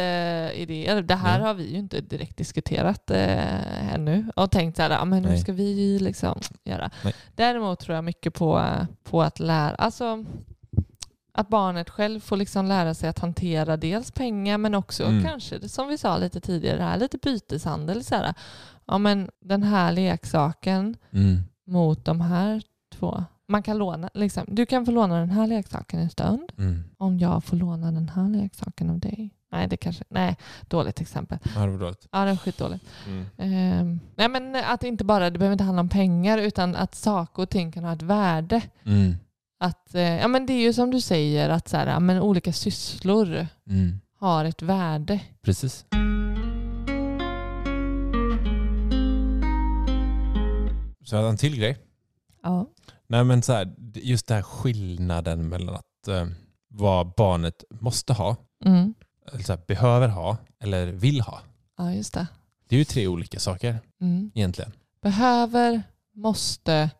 S3: idéer. Det här
S2: Ja.
S3: har vi ju inte direkt diskuterat eh, ännu och tänkt så här, ja, men hur
S2: Nej.
S3: ska vi liksom göra?
S2: Nej.
S3: Däremot tror jag mycket på, på att lära, alltså att barnet själv får liksom lära sig att hantera dels pengar men också
S2: Mm.
S3: kanske, det som vi sa lite tidigare, det här lite byteshandel. Så här, ja, men den här leksaken
S2: Mm.
S3: mot de här två. Man kan låna, liksom, du kan få låna den här leksaken en stund
S2: Mm.
S3: om jag får låna den här leksaken av dig. Nej, det kanske, nej, dåligt exempel.
S2: Ja, det var dåligt.
S3: Ja, det är skitdåligt.
S2: Mm.
S3: Ehm, nej, men att inte bara, det behöver inte handla om pengar utan att saker och ting kan ha ett värde.
S2: Mm.
S3: Att, eh, ja, men det är ju som du säger, att så här, ja, men olika sysslor
S2: Mm.
S3: har ett värde.
S2: Precis. Så jag har en till grej.
S3: Ja.
S2: Nej, men så här, just den här skillnaden mellan att eh, vad barnet måste ha,
S3: Mm.
S2: eller så här, behöver ha eller vill ha.
S3: ja, just det.
S2: Det är ju tre olika saker
S3: Mm.
S2: egentligen.
S3: Behöver, måste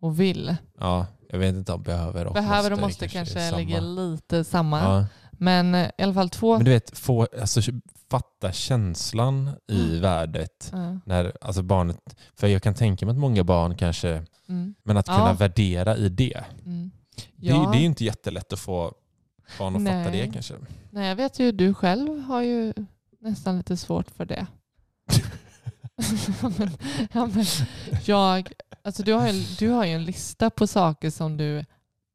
S3: och vill.
S2: Ja, jag vet inte om behöver och
S3: Behöver och måste
S2: det
S3: kanske,
S2: är samma.
S3: ligger lite samma.
S2: Ja.
S3: Men eh, i alla fall två.
S2: Men du vet, få, alltså, fatta känslan
S3: Mm.
S2: i värdet.
S3: Ja.
S2: När, alltså barnet, för jag kan tänka mig att många barn kanske,
S3: Mm.
S2: men att
S3: Ja.
S2: kunna värdera i det.
S3: Mm.
S2: Det,
S3: Ja.
S2: är- det är ju inte jättelätt att få barn att fatta
S3: Nej.
S2: det kanske.
S3: Nej, jag vet ju du själv har ju nästan lite svårt för det. ja, men, ja, men, jag, alltså du, har ju, du har ju en lista på saker som du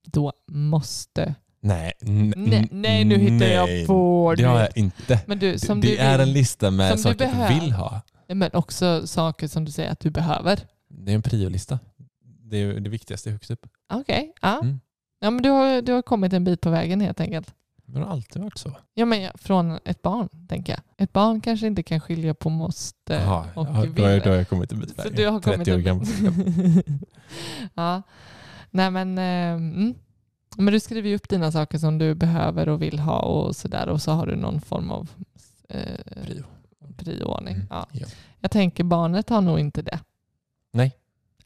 S3: då måste.
S2: Nej, n-
S3: Nej, nej nu hittar
S2: nej.
S3: jag på.
S2: Det
S3: du
S2: har
S3: vet.
S2: jag inte.
S3: Men du, som
S2: det
S3: du
S2: är en
S3: vill,
S2: lista med
S3: som du
S2: saker jag
S3: behöver.
S2: vill ha.
S3: men också saker som du säger att du behöver.
S2: Det är en priolista. Det är det viktigaste högst upp.
S3: Okej, ja.
S2: Mm.
S3: ja men du har, du har kommit en bit på vägen helt enkelt.
S2: Men det har alltid varit så.
S3: Ja, men jag- från ett barn, tänker jag. Ett barn kanske inte kan skilja på måste
S2: Jaha,
S3: och
S2: ja,
S3: vill.
S2: då, har jag, då har jag kommit en bit
S3: så
S2: vägen.
S3: du har kommit
S2: 30 år gammal.
S3: ja. Nej, men, eh, mm. men du skriver ju upp dina saker som du behöver och vill ha och sådär och så har du någon form av eh,
S2: Prio.
S3: prioordning.
S2: Mm,
S3: Ja.
S2: ja.
S3: Jag tänker barnet har nog inte det.
S2: Nej.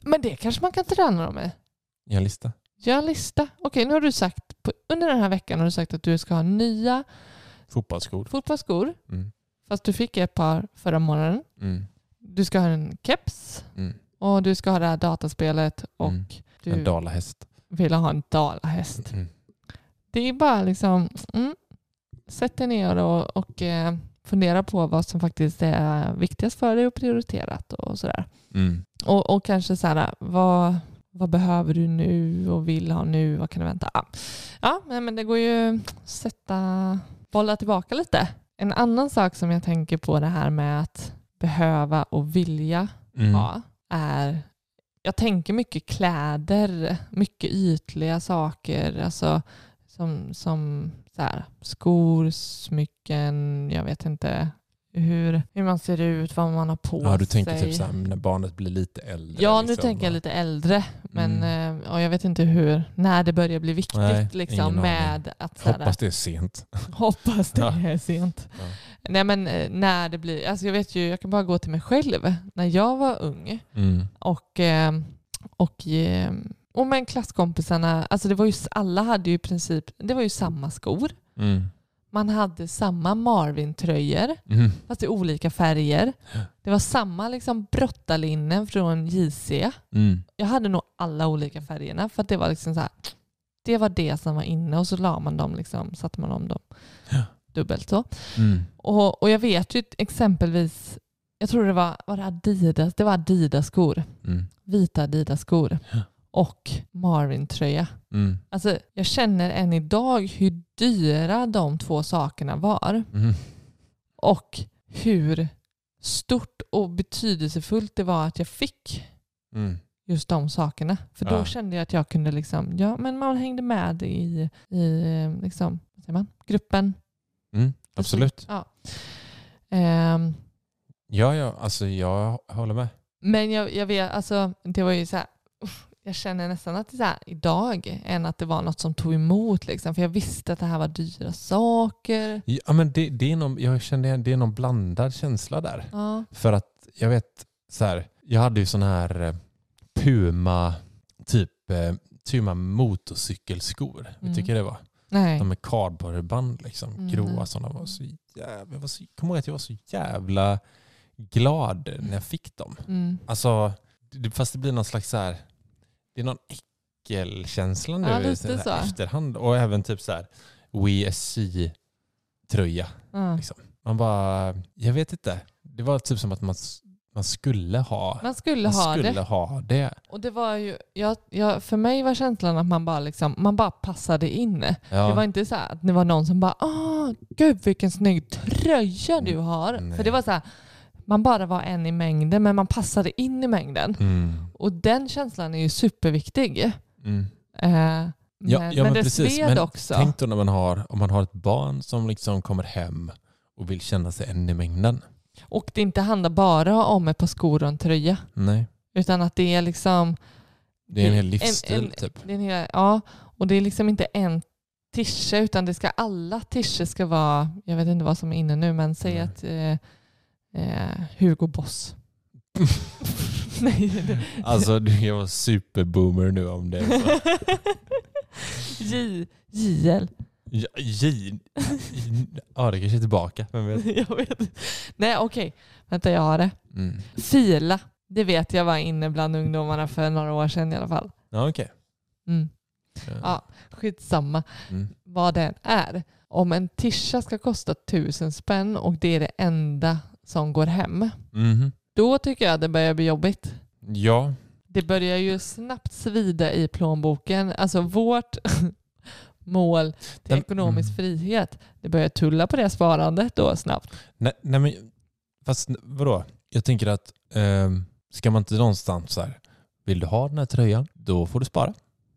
S3: Men det kanske man kan träna dem med.
S2: Jag har en lista.
S3: Gör en lista. Okej, nu har du sagt, på, under den här veckan har du sagt att du ska ha nya
S2: Fotbollsskor.
S3: fotbollsskor.
S2: Mm.
S3: Fast du fick ett par förra månaden.
S2: Mm.
S3: Du ska ha en keps
S2: Mm.
S3: och du ska ha det här dataspelet och
S2: Mm. En
S3: du
S2: dalahäst.
S3: vill ha en dalahäst.
S2: Mm.
S3: Det är bara liksom, mm, sätt dig ner och, och eh, fundera på vad som faktiskt är viktigast för dig och prioriterat och sådär.
S2: Mm.
S3: Och, och kanske så här, vad, vad behöver du nu och vill ha nu? Vad kan du vänta? Ja, ja nej, men det går ju att sätta, bolla tillbaka lite. En annan sak som jag tänker på det här med att behöva och vilja
S2: Mm.
S3: ha är, jag tänker mycket kläder, mycket ytliga saker, alltså så Som, som så här, skor, smycken, jag vet inte hur, hur man ser ut, vad man har på
S2: Ja, du
S3: sig.
S2: tänker typ så här, när barnet blir lite äldre.
S3: Ja, nu
S2: liksom.
S3: tänker jag lite äldre. Men
S2: Mm.
S3: eh, och jag vet inte hur, när det börjar bli viktigt
S2: Nej,
S3: liksom,
S2: ingen aning.
S3: med att så här,
S2: Hoppas det är sent.
S3: hoppas det
S2: Ja.
S3: är sent.
S2: Ja.
S3: Nej men eh, när det blir, alltså jag vet ju, jag kan bara gå till mig själv. När jag var ung
S2: Mm.
S3: och, eh, och, eh, och men klasskompisarna, alltså det var ju, s- alla hade ju i princip, det var ju samma skor.
S2: Mm.
S3: Man hade samma Marvin-tröjor,
S2: Mm.
S3: fast i olika färger. Det var samma liksom brottarlinnen från JC.
S2: Mm.
S3: Jag hade nog alla olika färgerna för att det var liksom så här, det var det som var inne och så la man dem liksom, satte man om dem
S2: Ja.
S3: dubbelt så.
S2: Mm.
S3: Och, och jag vet ju exempelvis, jag tror det var, var det Adidas, det var Adidas-skor,
S2: Mm.
S3: vita Adidas-skor
S2: Ja.
S3: och Marvin-tröja.
S2: Mm.
S3: Alltså jag känner än idag hur dyra de två sakerna var
S2: Mm.
S3: och hur stort och betydelsefullt det var att jag fick
S2: Mm.
S3: just de sakerna. För då
S2: Ja.
S3: kände jag att jag kunde liksom, ja men man hängde med i, i eh, liksom, vad säger man, gruppen.
S2: Mm. Absolut.
S3: Ja. Ehm,
S2: Ja, ja, alltså jag håller med.
S3: men jag, jag vet, alltså det var ju så här, uff, jag känner nästan att det är så här idag än att det var något som tog emot liksom. För jag visste att det här var dyra saker.
S2: Ja, men det, det är någon, jag kände det är någon blandad känsla där.
S3: Ja.
S2: För att jag vet så här, jag hade ju sån här eh, Puma, typ eh, Puma motorcykelskor.
S3: Mm.
S2: Jag tycker jag det var.
S3: Nej.
S2: De med kardborreband liksom,
S3: Mm.
S2: gråa sådana. Var så jävla, jag var så, kommer ihåg att jag var så jävla glad när jag fick dem.
S3: Mm.
S2: Alltså, det- fast det blir någon slags så här, det är någon äckelkänsla nu
S3: Ja, lite
S2: i här
S3: så.
S2: efterhand. Och även typ så här WSC-tröja.
S3: Ja.
S2: Liksom. Man bara, jag vet inte. Det var typ som att man, s- man skulle ha,
S3: Man skulle
S2: man
S3: ha
S2: skulle
S3: det.
S2: ha det.
S3: Och det var ju, jag, jag, för mig var känslan att man bara, liksom, man bara passade in.
S2: Ja.
S3: Det var inte så här att det var någon som bara Åh, gud vilken snygg tröja du har.
S2: Mm. Nej.
S3: För det var så här, man bara var en i mängden men man passade in i mängden.
S2: mm.
S3: Och den känslan är ju superviktig. Eh,
S2: Mm.
S3: men,
S2: Ja, ja, men
S3: det
S2: precis.
S3: sved
S2: Men
S3: också.
S2: Tänk då när man har, om man har ett barn som liksom kommer hem och vill känna sig en i mängden.
S3: Och det inte handlar bara om ett par skor och en tröja.
S2: Nej,
S3: Utan att det är liksom
S2: det är en hel
S3: En-
S2: livsstil
S3: en-
S2: typ.
S3: det är en hel, ja, och det är liksom inte en tische utan det ska, alla tischer ska vara, jag vet inte vad som är inne nu, men säg
S2: Nej.
S3: att eh, eh, Hugo Boss.
S2: typ.
S3: Nej, det-
S2: Alltså du, jag var superboomer nu om det. är så.
S3: J, JL.
S2: Ja, J... Ja, det kanske är tillbaka. Vem vet?
S3: jag vet. Nej okej, vänta jag har det.
S2: Mm.
S3: Fila, det vet jag var inne bland ungdomarna för några år sedan i alla fall.
S2: Ja, okej.
S3: Mm.
S2: Ja.
S3: Ja. Skitsamma
S2: Mm.
S3: vad den är. Om en tischa ska kosta tusen spänn och det är det enda som går hem,
S2: Mhm.
S3: då tycker jag det börjar bli jobbigt.
S2: Ja.
S3: Det börjar ju snabbt svida i plånboken. Alltså vårt mål till
S2: Den-
S3: ekonomisk
S2: mm.
S3: frihet, det börjar tulla på det sparandet då snabbt.
S2: Nej, nej men fast vadå? Jag tänker att ehm, ska man inte någonstans så här, vill du ha den här tröjan, då får du spara.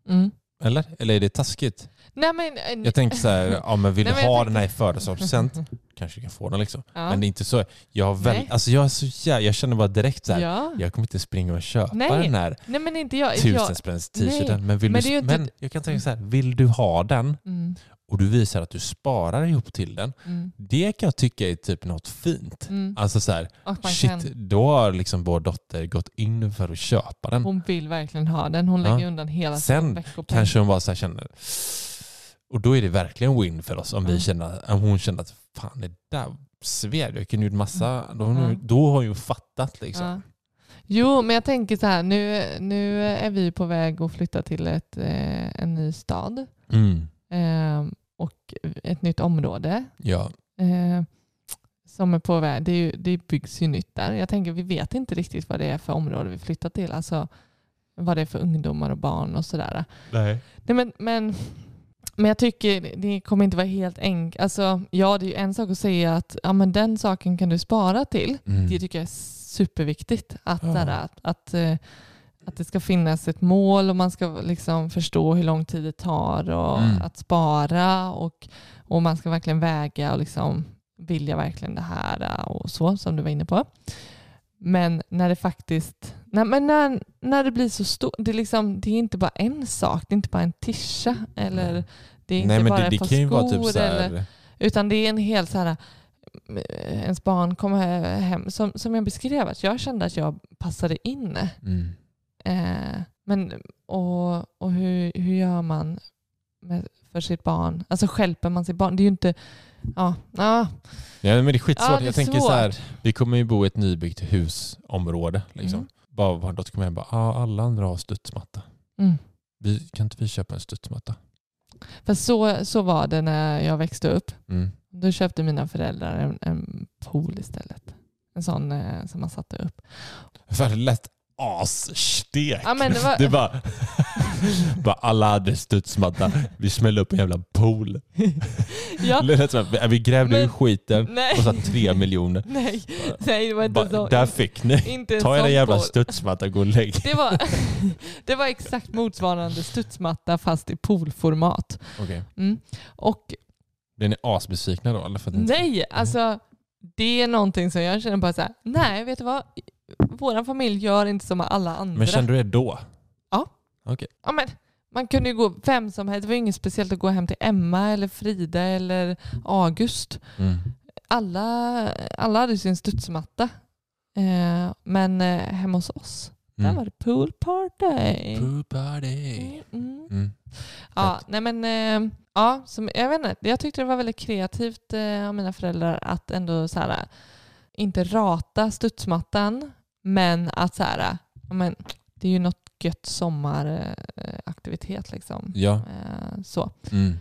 S3: Mm.
S2: Eller? Eller är det taskigt?
S3: Nej men... eh,
S2: Jag tänker så här, ja men vill
S3: Nej,
S2: du
S3: men jag
S2: ha
S3: tänkte-
S2: den här i födelsedagspresent, kanske du kan få den liksom.
S3: Ja.
S2: Men det är inte så. Jag, har väl,
S3: Nej.
S2: alltså jag, är så jä- jag känner bara direkt så här,
S3: ja.
S2: jag kommer inte springa och köpa
S3: Nej.
S2: den här
S3: Nej men inte jag. jag
S2: tusenspänns t-shirten. Men, vill
S3: men
S2: du,
S3: det är ju inte-
S2: men jag kan tänka så här, vill du ha den
S3: mm,
S2: och du visar att du sparar ihop till den,
S3: mm,
S2: det kan jag tycka är typ något fint.
S3: mm.
S2: Alltså så här,
S3: Och man
S2: shit,
S3: kan,
S2: då har liksom vår dotter gått in för att köpa den.
S3: hon vill verkligen ha den. Hon
S2: Ja.
S3: lägger undan hela sin
S2: Sen
S3: veckopeng.
S2: Kanske hon bara så här känner, och då är det verkligen win för oss om, vi
S3: Mm.
S2: känner, om hon känner att fan det där sved, jag kunde gjort massa, då, har hon-
S3: Mm.
S2: då har hon ju fattat liksom.
S3: Ja. Jo, men jag tänker så här, nu, nu är vi på väg att flytta till ett, eh, en ny stad
S2: Mm.
S3: eh, och ett nytt område
S2: Ja.
S3: eh, som är på väg. Det, är ju, det byggs ju nytt där. Jag tänker, vi vet inte riktigt vad det är för område vi flyttar till. Alltså vad det är för ungdomar och barn och sådär.
S2: Nej.
S3: Nej, men, men, men jag tycker det kommer inte vara helt enkelt. Alltså, ja, det är ju en sak att säga att ja, men den saken kan du spara till.
S2: Mm.
S3: Det tycker jag är superviktigt. Att,
S2: Ja.
S3: såhär, att, att, eh, att det ska finnas ett mål och man ska liksom förstå hur lång tid det tar och
S2: Mm.
S3: att spara och, och man ska verkligen väga och liksom vilja verkligen det här och så som du var inne på. Men när det faktiskt när, men när, när det blir så stort, det, är liksom, det är inte bara en sak, det är inte bara en tischa eller det är inte
S2: Nej men
S3: bara
S2: det,
S3: ett
S2: det
S3: par
S2: kan ju vara
S3: skor
S2: typ så
S3: eller-
S2: här,
S3: utan det är en hel så här, eh, ens barn kommer he- hem, som, som jag beskrev, att jag kände att jag passade in.
S2: mm,
S3: Eh, men, och och hur, hur gör man med, för sitt barn? Alltså skälper man sitt barn? Det är ju inte... Ja, ja
S2: Ja, men det är skitsvårt.
S3: Ja, det är
S2: jag tänker
S3: svårt.
S2: så här, vi kommer ju bo i ett nybyggt husområde. Liksom.
S3: Mm.
S2: Bara vår dotter kommer hem och bara, ah, alla andra har studsmatta.
S3: mm.
S2: Vi, kan inte vi köpa en studsmatta?
S3: För så, så var det när jag växte upp.
S2: Mm.
S3: Då köpte mina föräldrar en, en pool istället. En sån eh, som man satte upp.
S2: För det lät asstek.
S3: Ja, men det var-
S2: det bara, bara, alla hade studsmatta. Vi smällde upp en jävla pool.
S3: Ja,
S2: Det lät som att vi grävde
S3: Men-
S2: ur skiten
S3: nej.
S2: och satt tre miljoner.
S3: nej, nej, det var inte
S2: Bara,
S3: så.
S2: där fick ni.
S3: Inte en
S2: Ta era
S3: sån
S2: jävla
S3: pool.
S2: studsmatta och gå och lägg
S3: Det var, det var exakt motsvarande studsmatta fast i poolformat.
S2: okay.
S3: Mm. Och
S2: Blir ni asbesvikna då? Eller för att ni inte-
S3: nej, alltså det är någonting som jag känner bara så här, nej vet du vad? Vår familj gör inte som alla andra.
S2: Men kände du det då?
S3: ja, men, man kunde ju gå vem som helst, det var ju inget speciellt att gå hem till Emma eller Frida eller August.
S2: Mm.
S3: Alla, alla hade sin studsmatta. Eh, men eh, hemma hos oss,
S2: Mm.
S3: där var det pool party.
S2: Pool party.
S3: Mm, mm.
S2: Mm.
S3: Ja, nej men, eh, ja, som, jag vet inte. Jag tyckte det var väldigt kreativt eh, av mina föräldrar att ändå så här, inte rata studsmattan, men att så här, ja, men, det är ju något gött sommaraktivitet liksom.
S2: Ja.
S3: Eh, så.
S2: Mm.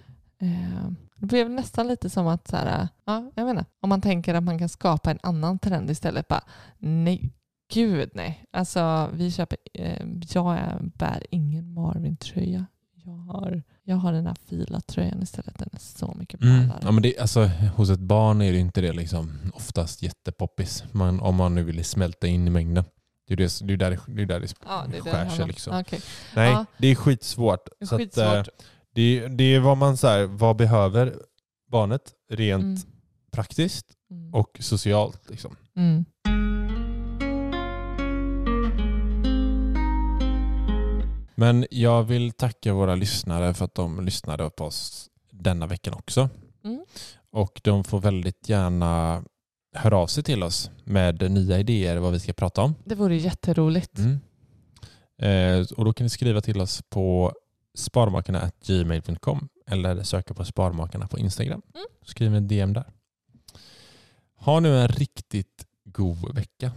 S3: Eh, det blev nästan lite som att, så här, ja, jag vet inte, om man tänker att man kan skapa en annan trend istället. Bara, nej, gud nej. Alltså, vi köper, eh, jag är- bär ingen Marvin-tröja. Jag har, jag har den här Fila-tröjan istället. Den är så mycket
S2: Mm.
S3: ballare.
S2: Ja, men det, alltså, hos ett barn är det inte det liksom oftast jättepoppis. Man, om man nu vill smälta in i mängden. Det är ju det, det, är ju där, det, det, är där det
S3: Ja, det är
S2: skär
S3: den
S2: sig
S3: här.
S2: liksom.
S3: Okej.
S2: Nej,
S3: Ja.
S2: det är skitsvårt.
S3: Det är
S2: Så att,
S3: skitsvårt.
S2: eh, det, det är vad man så här, vad behöver barnet rent
S3: Mm,
S2: praktiskt
S3: mm,
S2: och socialt. Liksom.
S3: mm.
S2: Men jag vill tacka våra lyssnare för att de lyssnade på oss denna veckan också.
S3: Mm.
S2: Och de får väldigt gärna höra av sig till oss med nya idéer vad vi ska prata om.
S3: Det vore jätteroligt.
S2: Mm. Eh, och då kan ni skriva till oss på sparmakarna.gmail.com eller söka på Sparmakarna på Instagram.
S3: Mm.
S2: Skriv en DM där. Ha nu en riktigt god vecka.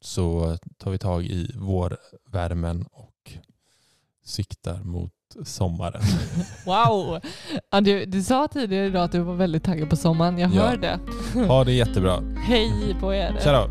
S2: Så tar vi tag i vårvärmen och siktar mot sommaren.
S3: Wow! Ja, du, du sa tidigare idag att du var väldigt taggad på sommaren. Jag
S2: Ja.
S3: hör det.
S2: Ha det jättebra.
S3: Hej på er!
S2: Tja då.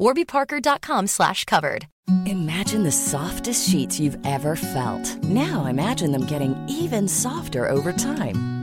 S5: warbyparker.com slash covered.
S6: Imagine the softest sheets you've ever felt. Now imagine them getting even softer over time.